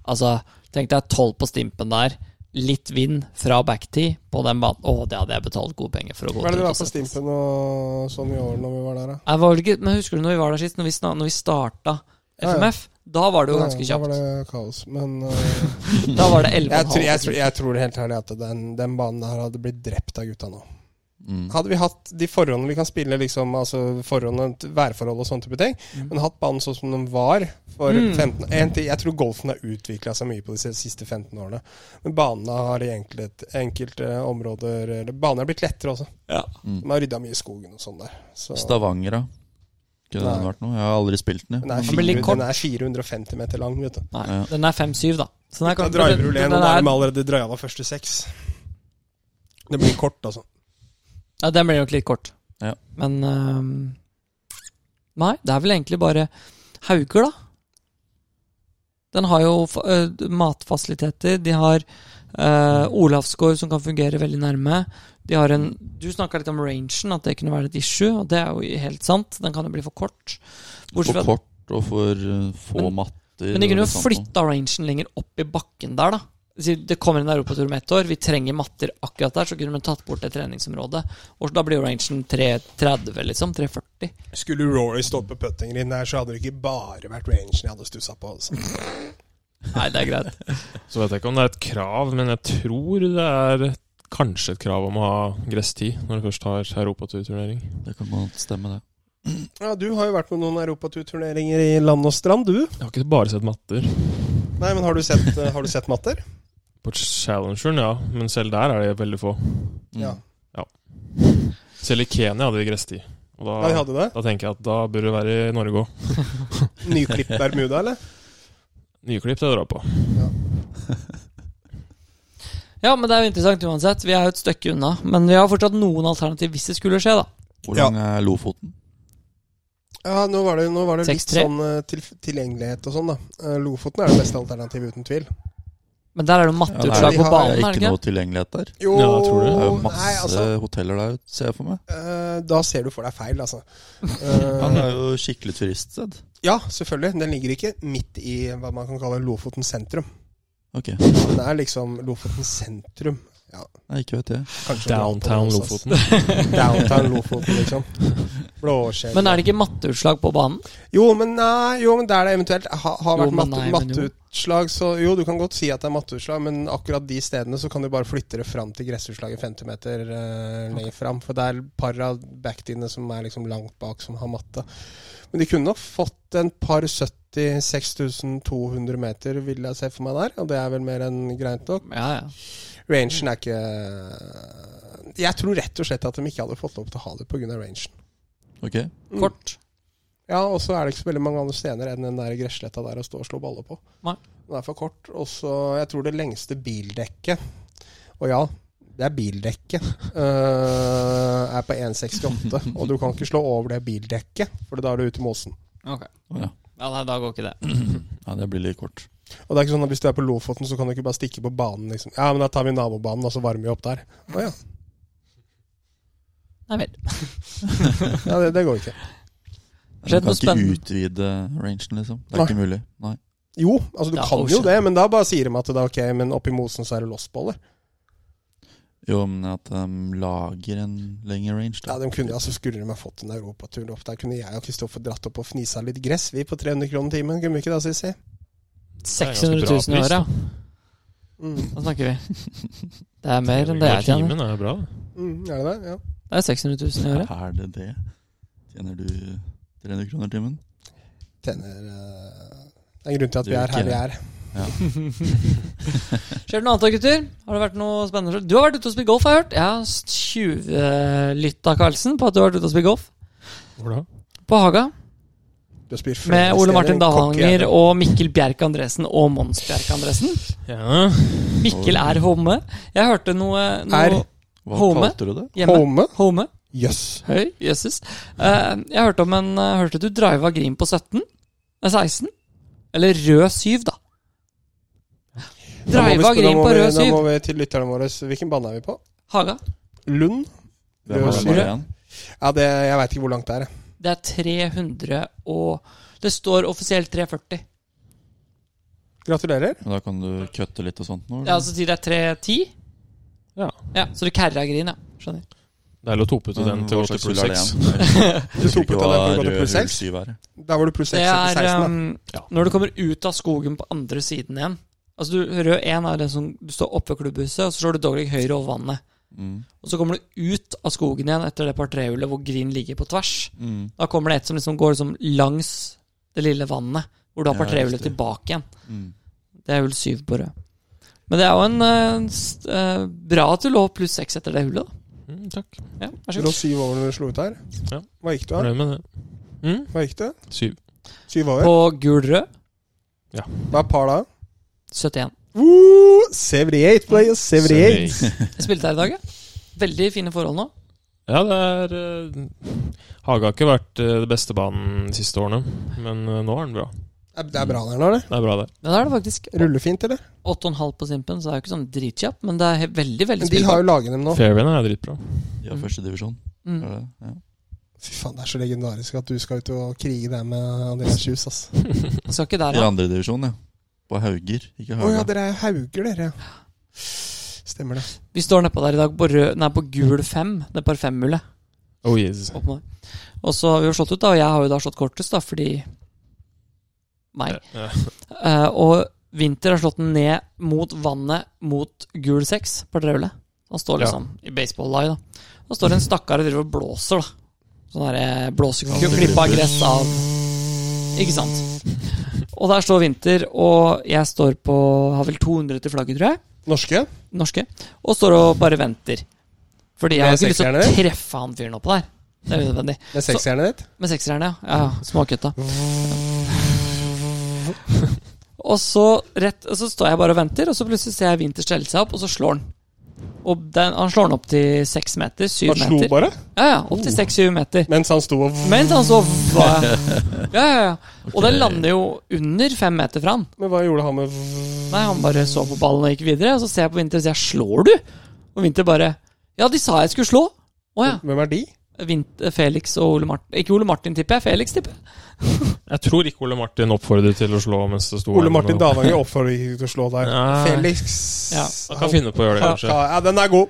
Altså, tenk deg tolv på stimpen der. Litt vind fra backtee på den banen. Å, det hadde jeg betalt gode penger for å gå
Hva er det
ut
du
og
var på
sette, ass.
Stimpen og sånn i år når vi var der, da?
Jeg var vel ikke, men husker du når vi var der sist? Når vi, snak, når vi starta
Ja, ja.
FMF? Da var det jo ganske
Ja, da
kjapt.
var det kaos. Men eh,
Da var det
jeg,
11,5.
tror, jeg, tror, jeg tror helt ærlig at den, den banen her hadde blitt drept av gutta nå.
Mm.
Hadde vi hatt de forhåndene vi kan spille, liksom, altså forhåndene, t- værforhold og sånne type ting,
Mm.
men hatt banen sånn som den var for
Mm.
15 en ting, Jeg tror golfen har utvikla seg mye på de siste 15 årene. Men banene har i enkelte, enkelte områder eh, eller Banene har blitt lettere også.
Ja.
Mm.
De har rydda mye i skogen og sånn der. Så,
Stavanger, da. Kunne den
Nei.
vært noe? Jeg har aldri spilt den.
den, er
Den blir
400,
litt kort.
den er 450 meter lang, vet du.
Nei,
Ja.
den er 5-7, da. Så den er,
Da
kanskje-
driver du
den,
len, og da er de
er,
allerede driva første seks. Det blir kort, altså.
ja, den blir nok litt kort.
Ja.
Men øhm, Nei, det er vel egentlig bare Hauger, da. Den har jo fa- øh, matfasiliteter. De har øh, Olavsgård, som kan fungere veldig nærme. De har en Du snakka litt om rangen, at det kunne være et issue. Og det er jo helt sant. Den kan jo bli for kort. Bortsett
For
fra-
kort og for eh, få
Men-
matter.
Men de kunne
og
jo
litt sånt noe.
flytta rangen lenger opp i bakken der, da. Si Det kommer en europatur om ett år, vi trenger matter akkurat der, så kunne man tatt bort det treningsområdet. Og så da blir jo rangen 330, liksom. 340.
Skulle Rory stått på puttinglinjen her, så hadde det ikke bare vært rangen jeg hadde stussa på. Altså.
Nei, det er greit.
Så vet jeg ikke om det er et krav, men jeg tror det er et- kanskje et krav om å ha gresstid når du først har europaturturnering.
Det kan godt stemme, det.
Ja, Du har jo vært med noen europaturturneringer i land og strand, du.
Jeg har ikke bare sett matter.
Nei, men Har du sett, eh, har du sett matter?
På Challengeren, ja, men selv der er det veldig få.
Mm.
Ja.
Selv i Kenya hadde vi gresstid. Og
Ja, vi
da,
hadde det.
da tenker jeg at da bør det være i Norge òg.
Nyklipp Bermuda, eller?
Nye klipp til å dra på.
Ja, men det er jo interessant uansett. Vi er jo et stykke unna. Men vi har fortsatt noen alternativ hvis det skulle skje, da.
Hvor
Ja.
lang er Lofoten?
Ja, Nå var det, nå var det litt
6-3.
sånn eh, til, tilgjengelighet og sånn, da. Eh, Lofoten er det beste alternativet, uten tvil.
Men der er det jo
Ja, nei,
matteutslag
de
på
det
har-
banen,
er
er det
ikke
ikke?
noe tilgjengelighet der.
Jo,
Ja, jeg tror det.
Det er jo masse
nei, altså,
hoteller der, ser jeg for meg.
eh, da ser du for deg feil, altså.
Han
Eh,
er jo skikkelig turiststed.
ja, selvfølgelig. Den ligger ikke midt i hva man kan kalle Lofoten sentrum.
Ok,
Den er liksom Lofoten sentrum.
nei, ikke vet jeg.
Kanskje
Downtown
Lofoten,
Lofoten.
altså. Downtown Lofoten, liksom. Blåskjell.
Men er det ikke matteutslag på banen?
Jo, men nei, jo, men der det eventuelt ha, har
Jo,
vært
men
matte,
nei, men jo.
matteutslag, så Jo, du kan godt si at det er matteutslag, men akkurat de stedene så kan du bare flytte det fram til gressutslaget 50 meter eh, lenger fram. For det er par av backtiene som er liksom langt bak, som har matte. Men de kunne nok fått en par 70 6200 meter, vil jeg se for meg der. Og det er vel mer enn greit nok.
Ja, ja.
Rangen er ikke Jeg tror rett og slett at de ikke hadde fått lov til å ha det pga. rangen.
Ok,
Mm.
Kort.
Ja, og så er det ikke så veldig mange andre steder enn den der gressletta der å stå og slå baller på.
Nei.
Den er for kort. Og så jeg tror det lengste bildekket Og ja, det er bildekket. [LAUGHS] eh, er på 1,68. Og du kan ikke slå over det bildekket, for da er du ute i mosen.
Ok.
Å ja. [CLEARS THROAT]
Ja, nei, da går ikke det.
ja, det blir litt kort.
Og det er ikke sånn at hvis du er på Lofoten, så kan du ikke bare stikke på banen, liksom. Ja, men da tar vi nabobanen, og så varmer vi opp der. Å ja.
Nei vel.
ja det, det går ikke.
Du kan
Skjedd noe
ikke
spennende.
utvide rangen, liksom. Det er
Nei.
ikke mulig. Nei.
Jo, altså du
Ja,
kan
oh,
jo
shit.
det, men da bare sier de at det er ok, men oppi mosen så er det lossboller.
Jo, men at de lager en lengre range,
Ja,
da.
de kunne, altså Skulle de ha fått en europatur opp der, kunne jeg og Kristoffer dratt opp og fnisa litt gress, vi, på 300 kroner timen. Kunne vi ikke det, Sissi?
600
bra
000 i
pris,
året,
da.
ja.
Mm.
Da snakker vi. Det er mer enn det jeg tjener.
Timen er bra. det.
Mm, er det det? Ja.
Det er 600 000 i året.
Er det det? Tjener du 300 kroner timen?
Tjener eh, Det er grunnen til at
Det
vi
gjør
er her vi
ikke
er.
Skjer det noe annet da, gutter? Har det vært noe spennende? Du har vært ute og spilt golf, har jeg hørt. Jeg har tjuvlytta, Karlsen, på at du har vært ute og spilt golf.
Hvor da?
På Haga.
sitter og spiller flere
Med Ole Martin
steder enn kokk
Davanger
igjen.
og Mikkel Bjerke Andresen og Mons Bjerke Andresen.
Ja.
Mikkel er home. Jeg hørte noe,
Er
noe
Hva
Home?
kalte du det?
hjemme.
Home?
Home.
Jøss.
Høy. Jøsses. Eh, jeg hørte om en eh, Hørte du driva Grim på 17? Nei, 16? Eller rød 7, da.
Da må vi
Driva
sp- da
Grim
må
på
vi-
rød
Da
7.
må vi til lytterne våre. Hvilken bane er vi på?
Haga.
Lund?
Hvem er det
Løsere.
bare igjen?
Ja, det, jeg veit ikke hvor langt det er. jeg.
Det er 300 og Det står offisielt 340.
[LAUGHS]
Gratulerer.
Men Da kan du kutte litt og sånt nå? eller?
Ja, altså, Så sier det er 310.
Ja.
ja så du kærra Grin, ja. Skjønner.
Deilig å tope til den
Men
til
Mm, hva
80
slags
pluss
hull er det
6. [LAUGHS]
igjen?
Du tok ut av den på gått til pluss
Rød hull
6.
syv er det.
Der var du pluss 6
Det
etter
er
16. da.
um, når du kommer ut av skogen på andre siden igjen. Altså du, Rød 1 er den som du står oppe ved klubbhuset, og så slår du dogleg høyre over vannet.
Mm.
Og så kommer du ut av skogen igjen etter det par trehullet hvor Green ligger på tvers.
Mm.
Da kommer det et som liksom går liksom langs det lille vannet, hvor du har
Ja,
par trehullet
riktig.
tilbake igjen.
Mm.
Det er hull 7 på rød. Men det er jo en eh, st- eh, Bra at du lå pluss 6 etter det hullet, da.
Mm, takk.
Ja, vær
Du
så
lå
god.
syv over når du slo ut her.
Ja.
Hva gikk du her?
Fornøyd med det. Mm,
Hva gikk det?
syv.
Syv over?
På gul-rød
Hva er par da?
71.
Woo! 78, players. 78.
Jeg spilte her i dag, jeg. Veldig fine forhold nå.
Ja, det er eh, Haga har ikke vært eh, det beste banen de siste årene, men eh, nå er den bra.
Det er- Det er bra der nå, eller?
Det er bra, det.
Men da er det faktisk
Ruller fint, eller?
8,5 på Simpen, så det er jo ikke sånn dritkjapp, men det er he- veldig, veldig
Men de har
spillbart.
jo laget dem nå.
Fairwayen er dritbra.
Ja, førstedivisjon.
Mm.
Er det? Ja.
Fy faen, det er så legendarisk at du skal ut og krige der med Andreas Kjus, ass.
Jeg Skal ikke der,
I
da.
andredivisjon, ja. På Hauger, ikke
Å
Haga.
ja, dere er hauger, dere. ja. Stemmer det.
Vi står nedpå der i dag på, rød, nei, på gul 5. Det er par femmule.
Oh yes.
opp med det. Og så har vi jo slått ut, da, og jeg har jo da slått kortest, da, fordi meg.
Ja.
Eh, og Winter har slått den ned mot vannet, mot gul 6 på trehullet. Han står
Ja.
liksom i baseball-lie, da. Og står en stakkar og driver og blåser, da. Sånn derre blåsekokke klippa gress av Ikke sant. Og der står Winter, og jeg står på Har vel 200 til flagget, tror jeg
Norske?
norske, og står og bare venter. Fordi jeg
Med
har ikke lyst til å
sekserhjerner?
treffe han fyren oppå der. Det er unødvendig.
Med sekshjernet ditt?
Med sekserhjerne, ja. ja Småkutta. [LAUGHS] Og så, rett, og så står jeg bare og venter, og så plutselig ser jeg Winter stelle seg opp, og så slår han. Og den, han slår den opp til seks meter, syv
Han slo
meter.
bare?
Ja, ja, opp til seks-syv meter.
Mens han sto og
Mens han så Ja, ja, ja. Og den lander jo under fem meter fra han.
Men hva gjorde han med
Nei, han bare så på ballen og gikk videre. Og så ser jeg på Winter og sier 'slår du?' Og Winter bare 'ja, de sa jeg skulle slå'. Å ja.
Hvem er de?
Winter, Felix og Ole Martin Ikke Ole Martin, tipper jeg. Felix, tipper jeg.
Jeg tror ikke Ole Martin oppfordret til å slå mens det sto
Ole
her, liksom.
Martin
men-
Davanger oppfordrer ikke til å slå der.
Nei.
Felix
Ja,
Han kan finne på å gjøre det,
Ja,
kanskje.
ja, den er god.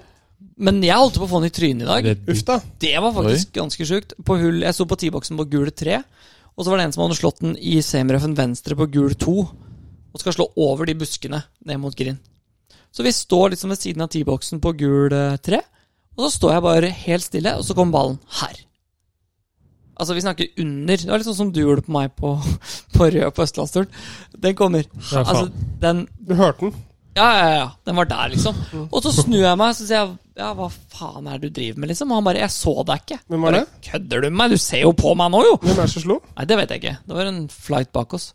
Men jeg holdt på å få han i trynet i dag.
Redd-
Uff, da.
Det var faktisk ganske sjukt. På hull, jeg sto på T-boksen på gul 3, og så var det en som hadde slått den i semirøffen venstre på gul 2, og skal slå over de buskene ned mot grind. Så vi står liksom ved siden av T-boksen på gul 3, og så står jeg bare helt stille, og så kom ballen her. Altså, vi snakker under. Det var litt sånn som du gjorde på meg på, [LAUGHS] på rød på Østlandsturen. Den kommer.
Ja, faen.
Altså, den
Du hørte den.
ja, ja, ja. Den var der, liksom.
Mm.
Og så snur jeg meg og sier jeg, ja, hva faen er det du driver med, liksom? Og han bare, jeg så deg ikke.
Hvem var
Bare, Kødder du med meg? Du ser jo på meg nå, jo!
Hvem er det som slo?
Nei, det vet jeg ikke. Det var en flight bak oss.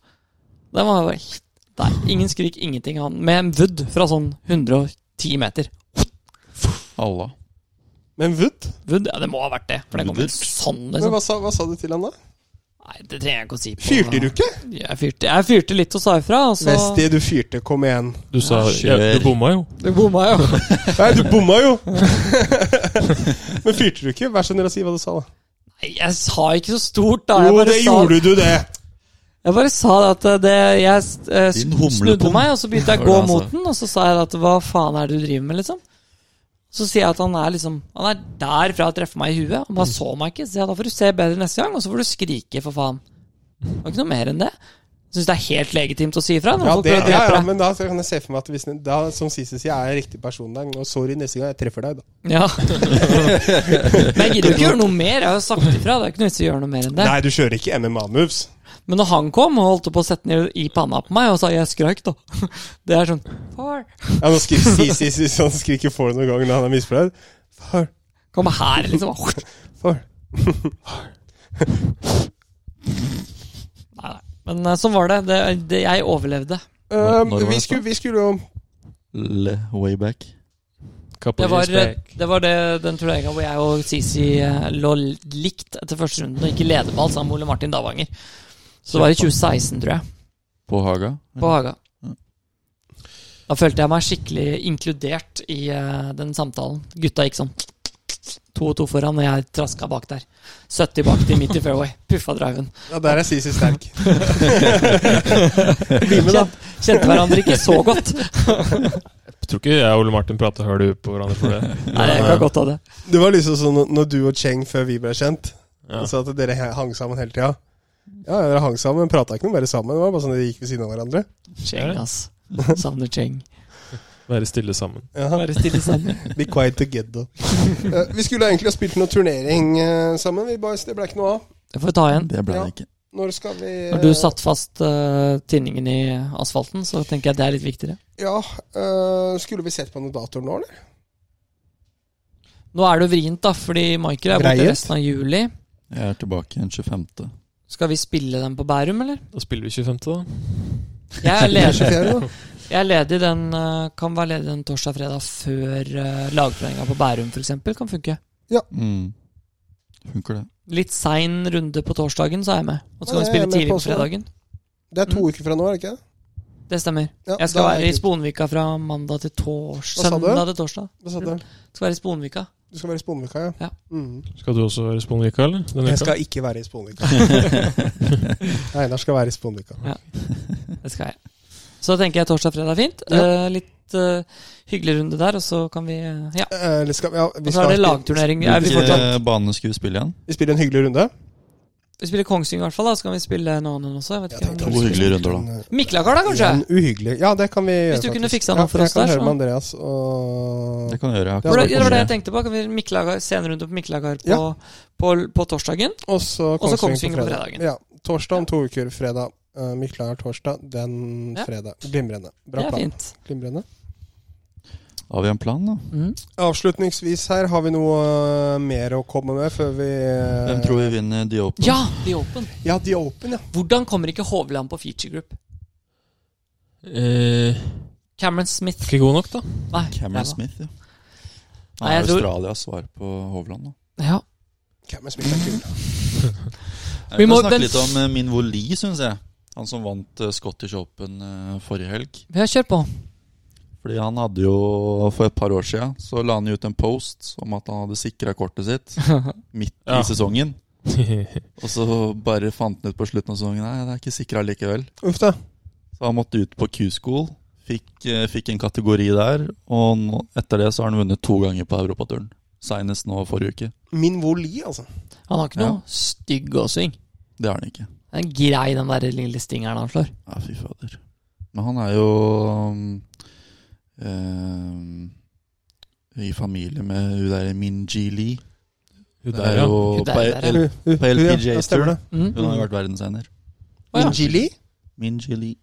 Den var helt Nei, ingen skrik, ingenting. Han med en wood fra sånn 110 meter.
Alla.
Men Wood?
Wood, ja, det må ha vært det. For den kom
Wood?
en sånn,
Men
liksom.
hva sa, hva sa du til han da?
Nei, det trenger jeg ikke å si. på.
Fyrte du ikke?
Jeg fyrte, jeg fyrte litt og sa ifra, og så
Vesti, du fyrte. Kom igjen.
Du sa
Ah,
Ja,
ja, Du bomma jo.
Det bomma jo.
[LAUGHS] Nei, du bomma
[LAUGHS]
jo! Men fyrte du ikke? Vær så snill å si hva du sa, da.
Nei, jeg sa ikke så stort, da. Jeg
Jo,
bare
det
sa-
gjorde du, det!
Jeg bare sa det at det, jeg eh,
Din
snudde
humlepung.
meg, og så begynte jeg å
Det
gå
var det han
mot
sa.
den. Og så sa jeg at hva faen er det du driver med, liksom? Så sier jeg at han er liksom Han er der fra å treffe meg i huet. Han bare så meg ikke. Så sier jeg da får du se bedre neste gang, og så får du skrike, for faen. Det var ikke noe mer enn det. Jeg syns det er helt legitimt å si ifra. når
Ja,
folk
det,
prøver å
ja,
drepe
ja,
deg.
men da kan jeg se for meg at hvis, da, som Sisi sier, jeg er riktig person der. Og sorry neste gang jeg treffer deg, da.
Ja. [LAUGHS] Men jeg gidder jo ikke gjøre noe mer. Jeg har jo sagt ifra. Det er ikke noe vits i å gjøre noe mer enn det.
Nei, du kjører ikke MMA-moves.
Men når han kom og holdt på å sette den i panna på meg, og sa 'jeg skrøyk', da [LAUGHS] Det er sånn Far,
Ja, nå skriver
[LAUGHS]
Sisi Sisi, han skriker for noen ganger når han er misfornøyd. Far,
kom her, liksom.
far.
Men eh, sånn var det. det, det jeg overlevde.
Eh,
Når- når var
vi,
det
skulle, vi skulle jo
Le, way back.
Det var, eh, det var det, den turneringa hvor jeg og Sisi eh, lå likt etter første runden og ikke leder på alt sammen med Ole Martin Davanger. Så det var i 2016, tror jeg,
På Haga.
på Haga.
Ja.
Da følte jeg meg skikkelig inkludert i eh, den samtalen. Gutta gikk sånn to og to foran, og jeg traska bak der. 70 bak til midt i fairway. Puffa driven.
Ja, der er Sisi sterk.
Kjente, kjente hverandre ikke så godt.
Jeg tror ikke jeg og Ole Martin prater høl i huet på hverandre
[LAUGHS]
for det.
Nei, jeg kan godt ha det.
Det var liksom sånn når du og Cheng før vi ble kjent,
Ja.
så at dere hang sammen hele tida. Ja, dere hang sammen, prata ikke noe mer sammen. Det var bare sånn dere gikk ved siden av hverandre.
Cheng, ass. Savner Cheng.
Være stille sammen.
Ja,
Bare stille sammen.
Be quiet together. Eh, vi skulle egentlig ha spilt noe turnering eh, sammen, vi boys. Det ble ikke noe av.
Det får vi ta igjen.
Det ble
Ja.
det ikke.
Når skal vi eh,
Når du satt fast eh, tinningen i asfalten, så tenker jeg det er litt viktigere.
Ja, eh, skulle vi sett på noen datoer nå, eller?
Nå er det jo vrient, da, fordi Maiker er borte
Breiet.
resten av juli.
Jeg er tilbake den 25.
Skal vi spille den på Bærum, eller?
Da spiller vi 25., da.
Jeg er
[LAUGHS]
ledig,
24., da?
jeg er ledig den eh, Kan være ledig den torsdag-fredag før uh, lagtreninga på Bærum, f.eks. Kan funke.
Mm. Funker det.
Litt sein runde på torsdagen, så er jeg med. Og så kan
Nei, jeg
vi
er
spille
med
tidlig
på
på
også.
fredagen.
Det er to uker fra nå, er det ikke? det?
Det stemmer.
Ja,
Jeg skal
da er
være i
det kult.
Sponvika fra mandag til tors...
Hva sa du?
søndag til torsdag.
Hva sa du?
Skal være i Sponvika.
Du skal være i Sponvika, ja?
Ja.
Mhm.
Skal du også være Sponvika, eller? Denne
Jeg
uka?
skal ikke være i
[LAUGHS]
Sponvika. Einar skal være i Sponvika.
Det skal jeg. Så da tenker jeg torsdag-fredag er fint. Eh, litt eh, hyggelig runde der, og så kan vi eh, Ja.
Eh, eller skal, ja, vi,
Og så er
skal
det lagturnering. Er vi, fortsatt,
Hvilke baner skulle vi spille igjen?
vi spiller en hyggelig runde.
vi spiller Kongsvinger i hvert fall, da. Så kan vi spille en annen også. Jeg vet ikke om
To hyggelige runder,
eh,
da.
Miklagard, da, kanskje?
En uhyggelig Ja, det kan vi gjøre.
Hvis du kunne
faktisk.
fiksa noe for oss
Ja, jeg kan
der,
høre
så-
med Andreas og
Det kan vi gjøre. Jeg
For
har
det,
ikke
det var det
vært
jeg
med.
tenkte på. Kan vi Miklagard, se en runde på Miklagard på,
Ja.
på, på torsdagen?
Og så
Og så
Kongsvinger,
Kongsvinger
på
på
fredag.
fredagen.
Ja, torsdag om to uker. Fredag. Uh, Miklagard torsdag. Den
Ja.
fredag. Glimrende. Bra
Det er
plan.
fint.
Glimrende.
Har vi en plan, da?
Mm.
Mhm.
Avslutningsvis her, har vi noe eh, mer å komme med før vi eh,
Hvem tror vi vinner The Open?
Ja, The Open.
Ja, The Open, ja.
Hvordan kommer ikke Hovland på feature group?
Eh,
Cameron Smith.
ikke god nok, da. [LAUGHS]
Nei,
Cameron
ræva.
Smith, ja.
Nei,
Nei,
jeg tror-
Australias svar på Hovland, da.
Ja.
Cameron Smith er kul.
Jeg
Vi
kan
må-
snakke
men-
litt om eh, Minwo Lee, syns jeg. Han som vant eh, Scottish Open eh, forrige helg.
ja, kjør på.
Fordi han hadde jo For et par år siden så la han ut en post om at han hadde sikra kortet
[LAUGHS]
sitt midt
Ja.
i sesongen. Og så bare fant han ut på slutten av sesongen Nei, det er ikke sikra likevel.
Uff da.
Så han måtte ut på Q-school. Fikk, eh, fikk en kategori der. Og nå, etter det så har han vunnet to ganger på europaturen. Seinest nå forrige uke.
Min Woli, altså.
Han har ikke noe
Ja.
stygg gåsving.
Det er han ikke.
Det er grei, den der lille stingeren han slår.
Ja, fy fader. Men han er jo um, eh, I familie med hun der Minji Lee.
Hun
Det
der,
er
ja.
jo
Hun der,
på
der, ja.
L- på LPGA Tour.
Tour.
Mhm.
Hun har jo vært verdensener.
Å, ja.
Min Gili.
Minji Lee.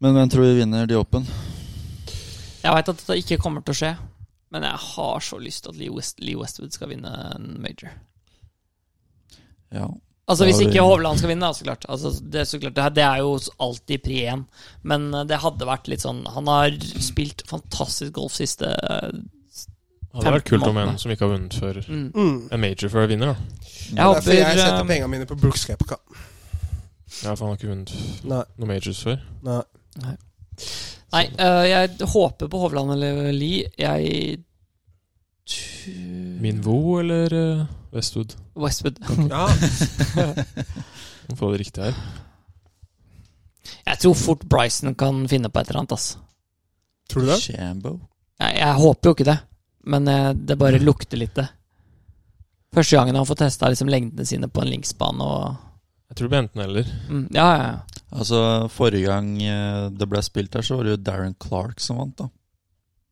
Men hvem tror vi vinner de åpen?
Jeg veit at dette ikke kommer til å skje, men jeg har så lyst til at Lee, West, Lee Westwood skal vinne en major.
Ja.
Altså
Ja,
Hvis
det-
ikke Hovland skal vinne, da, så klart. Altså, det, er så klart det, her- det er jo alltid pri én, men eh, det hadde vært litt sånn Han har spilt fantastisk golf siste eh,
Hadde vært kult om
månedene.
en som ikke har vunnet før
mm.
Mm.
en major før vinner, da.
Det er
Jeg
Derfor
håper
jeg setter
eh,
pengene mine på Brooks Kepka.
Ja, for han har ikke vunnet
Nei,
noen majors før.
nei.
Nei, eh, jeg håper på Hovland eller Lie. Jeg tu-
Minvo eller eh, Westwood?
[LAUGHS]
Westwood.
Ja.
Må Få det riktig her.
Jeg tror fort Bryson kan finne på et eller annet, ass.
Tror du det?
Shambo.
Jeg, jeg håper jo ikke det, men eh, det bare lukter litt det. Første gangen han får testa liksom lengdene sine på en linksbane og
Jeg tror det blir enten eller.
mm, Ja, ja, ja.
Altså, forrige gang eh, det ble spilt her, så var det jo Darren Clark som vant, da.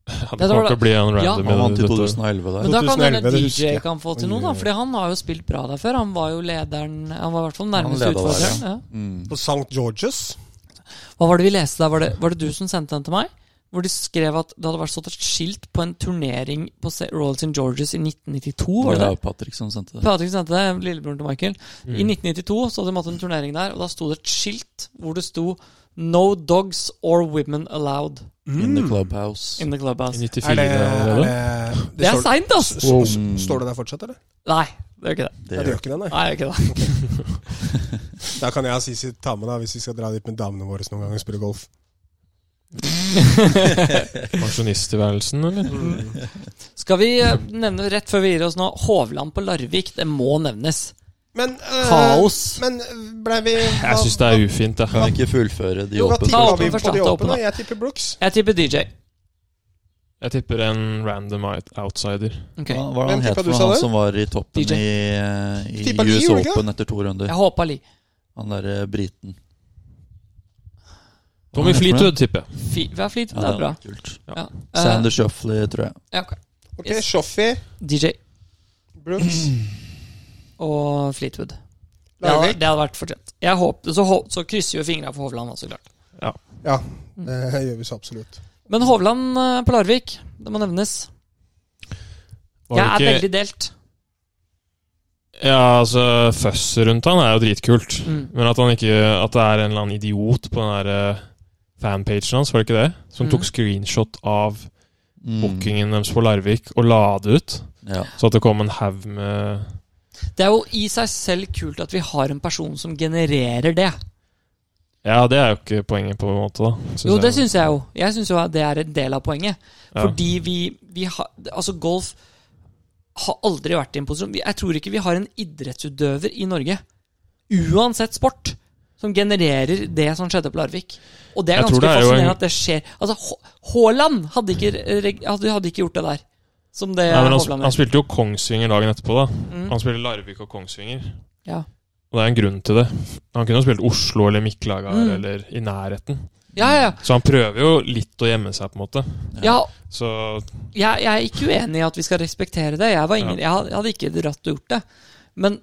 Ja,
det
det kommer
var-
til å bli en
Ja.
random.
Han vant i
dette.
2011 der.
Men da kan
2011,
hende
det husker
DJ
jeg.
kan få til noe, da. Fordi han har jo spilt bra der før. Han var jo lederen Han var i hvert fall den
Han
nærmeste
leda der,
utfordreren. Ja.
Mm.
På St. Georges.
Hva var det vi leste der? Var det, var det du som sendte den til meg? Hvor de skrev at det hadde vært stått et skilt på en turnering på Se- Royal St. Georges i 1992. var det det?
var Patrick som sendte det.
Patrick sendte det, lillebroren til Michael. Mm. I
Mm.
1992 så hadde de hatt en turnering der, og da sto det et skilt hvor det sto 'No dogs or women allowed'
In the
Mm.
clubhouse.
in the
I
clubhouse.
94
Er det, er
allerede.
det, det,
Det er
står,
seint, ass!
s- s-
Wow.
står det der fortsatt, eller?
Nei, det er ikke det.
Ja, det gjør ikke det, nei.
Nei, det er ikke det.
Da kan jeg og Sisi ta med deg hvis vi skal dra dit med damene våre noen ganger og spille golf.
[LAUGHS]
Pensjonisttilværelsen, eller?
Mm.
Skal vi eh, nevne rett før vi gir oss nå Hovland på Larvik? Det må nevnes.
Men eh,
Kaos.
Men blei vi
Jeg syns det er ufint, jeg.
Kan ikke fullføre de
Jo, hva
åpne
tipper
Ta
vi
åpen først,
på de
ta åpen,
åpne?
da.
Jeg tipper Brooks.
Jeg tipper DJ.
Jeg tipper en random out- outsider.
Ok.
Hva var det
Hvem
han het
tippa du
for
sa
han
det?
som var i toppen
DJ.
i, eh, i
Tippa Lee,
US
gjorde ikke
Open etter to runder?
Jeg håpa Li.
Han derre briten.
Tommy
Hva er det for noe?
Fleetwood, tipper jeg.
Fi- Vær flid.
Ja,
Det er bra.
var Kult.
Ja.
Ja. Eh,
Sander Shuffley, tror jeg.
ja, ok.
Ok,
Yes.
Shoffy,
DJ
Brooks,
og Fleetwood. Det hadde,
Larvik.
det hadde vært fortjent. Jeg håper, så, hå- så krysser vi fingra for Hovland, også, klart.
Ja, det Eh, gjør vi så absolutt.
Men Hovland eh, på Larvik, det må nevnes. Jeg
Var
er
det ikke
veldig delt.
Ja, altså, fuss rundt han er jo dritkult.
Mm.
Men at han ikke At det er en eller annen idiot på den der eh, fanpagen hans, var det ikke det? Som
Mm.
tok screenshot av
Mm.
bookingen deres på Larvik og la det ut.
Ja.
Så at det kom en haug med
Det er jo i seg selv kult at vi har en person som genererer det.
Ja, det er jo ikke poenget, på en måte, da. synes
Jo,
jeg.
det syns jeg jo. Jeg syns jo at det er en del av poenget.
Ja.
Fordi vi, vi har Altså, golf har aldri vært i en posisjon Vi- Jeg tror ikke vi har en idrettsutøver i Norge, uansett sport, som genererer det som skjedde på Larvik. Og det er
Jeg tror
ganske
det er jo
fascinerende
en-
at det skjer. Altså, H- Haaland hadde ikke, reg- hadde, hadde ikke gjort det der. Som det
Nei, men han,
Hovland
han
gjør.
spilte jo Kongsvinger dagen etterpå, da.
Mm.
Han spiller Larvik og Kongsvinger.
Ja.
Og det er en grunn til det. Han kunne jo spilt Oslo eller Mikkelagar
Mm.
eller i nærheten.
Ja, ja, ja.
Så han prøver jo litt å gjemme seg, på en måte.
ja
Så
jeg, jeg er ikke uenig i at vi skal respektere det. Jeg, var ingen, jeg, had- jeg hadde ikke dratt og gjort det. Men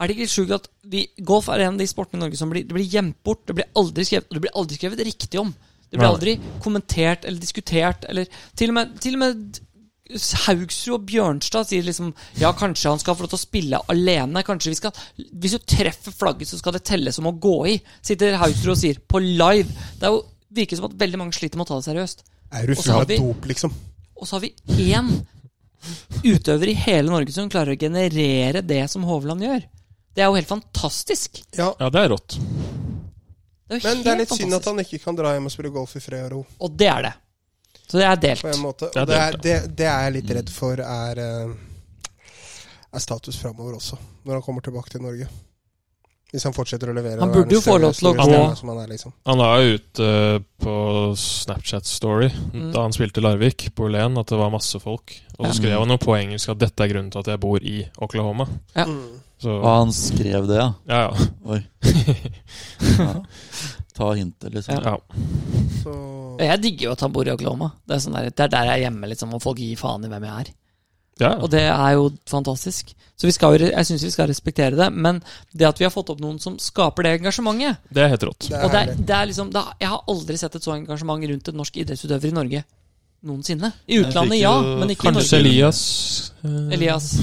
er det ikke sjukt at vi, golf er en av de sportene i Norge som blir, det blir gjemt bort? Det blir aldri skrevet, og det blir aldri skrevet riktig om. Det blir
Nei.
aldri kommentert eller diskutert eller Til og med, til og med Haugsrud og Bjørnstad sier liksom Ja, kanskje han skal få lov til å spille alene. Kanskje vi skal Hvis du treffer flagget, så skal det telle som å gå i. Sitter Haugsrud og sier på live. Det er jo, virker som at veldig mange sliter med å ta det seriøst.
Er du
Og så
full
har
av
vi-
dop, liksom?
Og så har vi én utøver i hele Norge som klarer å generere det som Hovland gjør. Det er jo helt fantastisk.
Ja.
ja, det er rått.
Det er jo
Men
helt
det er litt
fantastisk.
synd at han ikke kan dra hjem og spille golf i fred og ro.
Og det er det. Så det er
På en
delt.
måte.
Det er
Og det er,
delt,
det, det er jeg litt redd for er, eh, er status framover også, når han kommer tilbake til Norge. Hvis han fortsetter å levere.
Han
og er
burde
den
jo få
store-
lov til å
store
gå.
stjerna som han er, liksom.
Han la jo ut eh, på Snapchat Story
Mm.
da han spilte Larvik, på Len, at det var masse folk. Og
Ja.
så skrev han jo på engelsk at 'dette er grunnen til at jeg bor i Oklahoma'.
Ja.
Mm.
Så
Og han skrev det, ja.
ja, ja.
Oi. Ja. Ta hintet,
[LAUGHS]
liksom.
ja.
Så
Og jeg digger jo at han bor i Oklahoma. Det er, sånn der, det er der jeg er hjemme, liksom, og folk gir faen i hvem jeg er.
ja.
Og det er jo fantastisk. Så vi skal, jo re- jeg syns vi skal respektere det. Men det at vi har fått opp noen som skaper det engasjementet,
Det er helt rått.
det
Og
er
det er,
herlig.
det er liksom det er, Jeg har aldri sett et så engasjement rundt en norsk idrettsutøver i Norge noensinne. I
Jeg
utlandet,
fikk
ja,
jo
men ikke i
kanskje
Kanskje
Norge.
Elias eh,
Elias.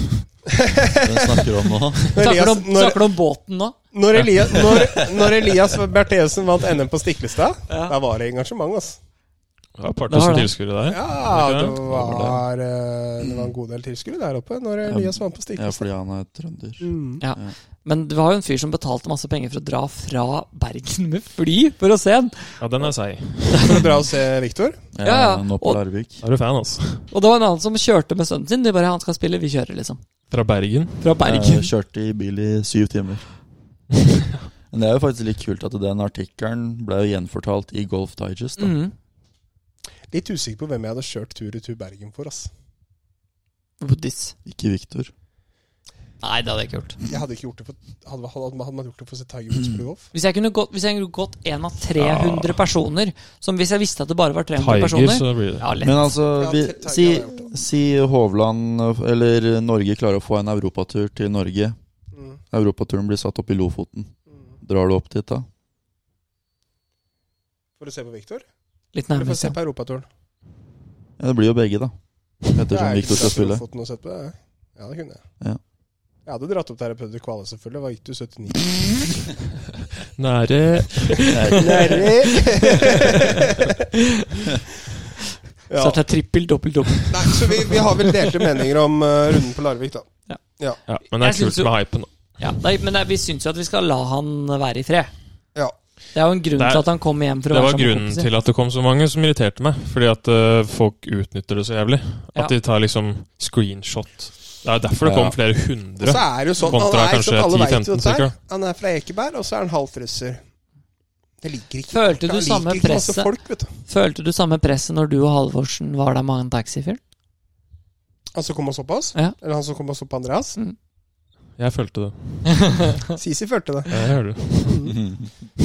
Hvem snakker du om nå?
[LAUGHS]
Når
Snakker du
Elias,
om,
når,
snakker du om båten nå?
når Elias, når, når Elias Bertheussen vant NM på Stiklestad, da var det engasjement, altså.
Ja, et par
Det var
tusen
det.
tilskuere der.
Ja,
det
det
ikke det?
var, eh, det var en god del tilskuere der oppe når Elias vant på
Ja,
Stiklestad.
fordi han er trønder.
Mm.
Ja. Men det var jo en fyr som betalte masse penger for å dra fra Bergen med fly for å se den.
Ja, den er seig.
For å dra og se Viktor.
Ja,
Ja, ja.
Eh, Nå på
Og-
Larvik.
Er du fan, altså?
Og det var en annen som kjørte med sønnen sin. De bare 'Han skal spille, vi kjører', liksom.
Fra Bergen.
Fra Bergen.
Jeg kjørte i bil i syv
[LAUGHS]
timer. Men det er jo faktisk litt kult at den artikkelen ble jo gjenfortalt i Golf Digest. Da.
Mhm.
Litt usikker på hvem jeg hadde kjørt tur-retur Bergen for. ass.
Buddhis.
Ikke Viktor.
Nei, det hadde jeg ikke gjort.
Jeg hadde ikke gjort det for, hadde, hadde, hadde man gjort det for å se Tiger
Mm.
Woods spille golf?
Hvis jeg kunne gått, hvis jeg kunne gått en av 300 personer, som hvis jeg visste at det bare var 300
Tiger,
personer
så blir det
Ja, lett.
Men altså,
Ja,
vi,
Tiger
si,
hadde gjort
si Hovland eller Norge klarer å få en europatur til Norge.
Mm.
Europaturen blir satt opp i Lofoten.
Mm.
Drar du opp dit, da?
For å se på Viktor?
Litt
Vi får
liksom. nærmest,
se
ja.
på europaturen.
Ja, det blir jo begge, da.
Det er
Ettersom
ikke
Victor skal
sikkert jeg
spille.
skulle fått noe sett på det. Ja, det kunne jeg.
Ja.
Jeg hadde dratt opp der og prøvd å kvale, selvfølgelig. Hva gikk du? 79?
[LAUGHS] Nære
ja.
Så det er trippel, dobbel, dobbel.
Nei, så vi, vi har vel delte meninger om eh, runden på Larvik, da.
ja, Men det
Jeg
er
synes
kult
jo-
med hypen. da.
Ja, nei, men det, vi syns jo at vi skal la han være i fred.
Ja.
Det er jo en grunn
Det er-
til at han kom hjem for å
Det
være
var
sammen med
grunnen til at det kom så mange som irriterte meg. Fordi at eh, folk utnytter det så jævlig.
Ja.
At de tar liksom screenshot. Det er derfor det kom
Ja.
flere
Og
hundre.
så er det jo sånn Han
Kontra
er, ikke sant,
kanskje
alle vet jo
10-15
dette her.
stykker.
Han er fra Ekeberg, og så er han halv russer. Det liker ikke
Følte du
han liker
samme
ikke masse
presset?
Folk, vet du.
Følte du samme presset når du og Halvorsen var der med han taxifyren?
Han som kom og så på oss?
Ja.
Eller han som kom og så på Andreas?
[LAUGHS]
Jeg følte det.
Sisi følte det.
Jeg hører det.
Mhm.
[LAUGHS]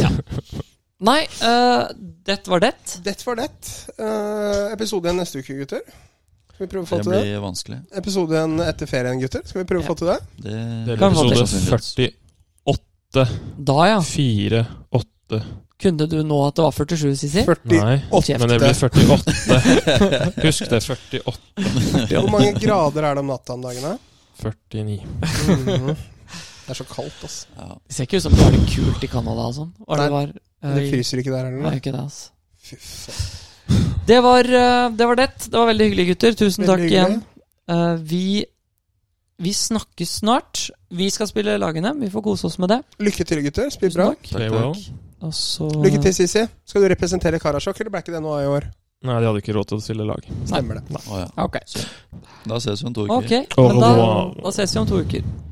Nei, eh, det var det.
Dett for dett. Eh, episode igjen neste uke, gutter. Skal vi prøve å få
Det
til det?
blir vanskelig.
Episode igjen etter ferien, gutter. Skal vi prøve å få til det?
Det,
Det er
Kan få til.
episode 48.
Da, ja.
4, 8
Kunne du nå at det var 47, Sisi?
48.
Nei, men det blir
[LAUGHS]
48. Husk det. 48.
Hvor mange grader er det om natta om dagene?
49.
Mhm. Det er så kaldt, altså.
ja.
Det ser ikke ut som det var det kult i Canada og sånn. Var det var eh,
Det fryser ikke der
Nei,
heller.
ikke det, altså.
Fy faen.
Det var, eh, det var det. Det var veldig hyggelig, gutter. Tusen
Veldig
takk
hyggelig.
igjen. Eh, vi, vi snakkes snart. Vi skal spille lagene. Vi får kose oss med det.
Lykke til, gutter. Spill
Tusen
bra.
takk.
Play
Takk,
well.
takk.
Og så
Lykke til, Sisi. Skal du representere Karasjok, eller ble ikke det noe av i år?
Nei, de hadde ikke råd til å stille lag.
Stemmer det.
Å, ja.
Ok.
Da ses vi om to uker.
Ok,
Au
men da,
revoir.
da ses vi om to uker.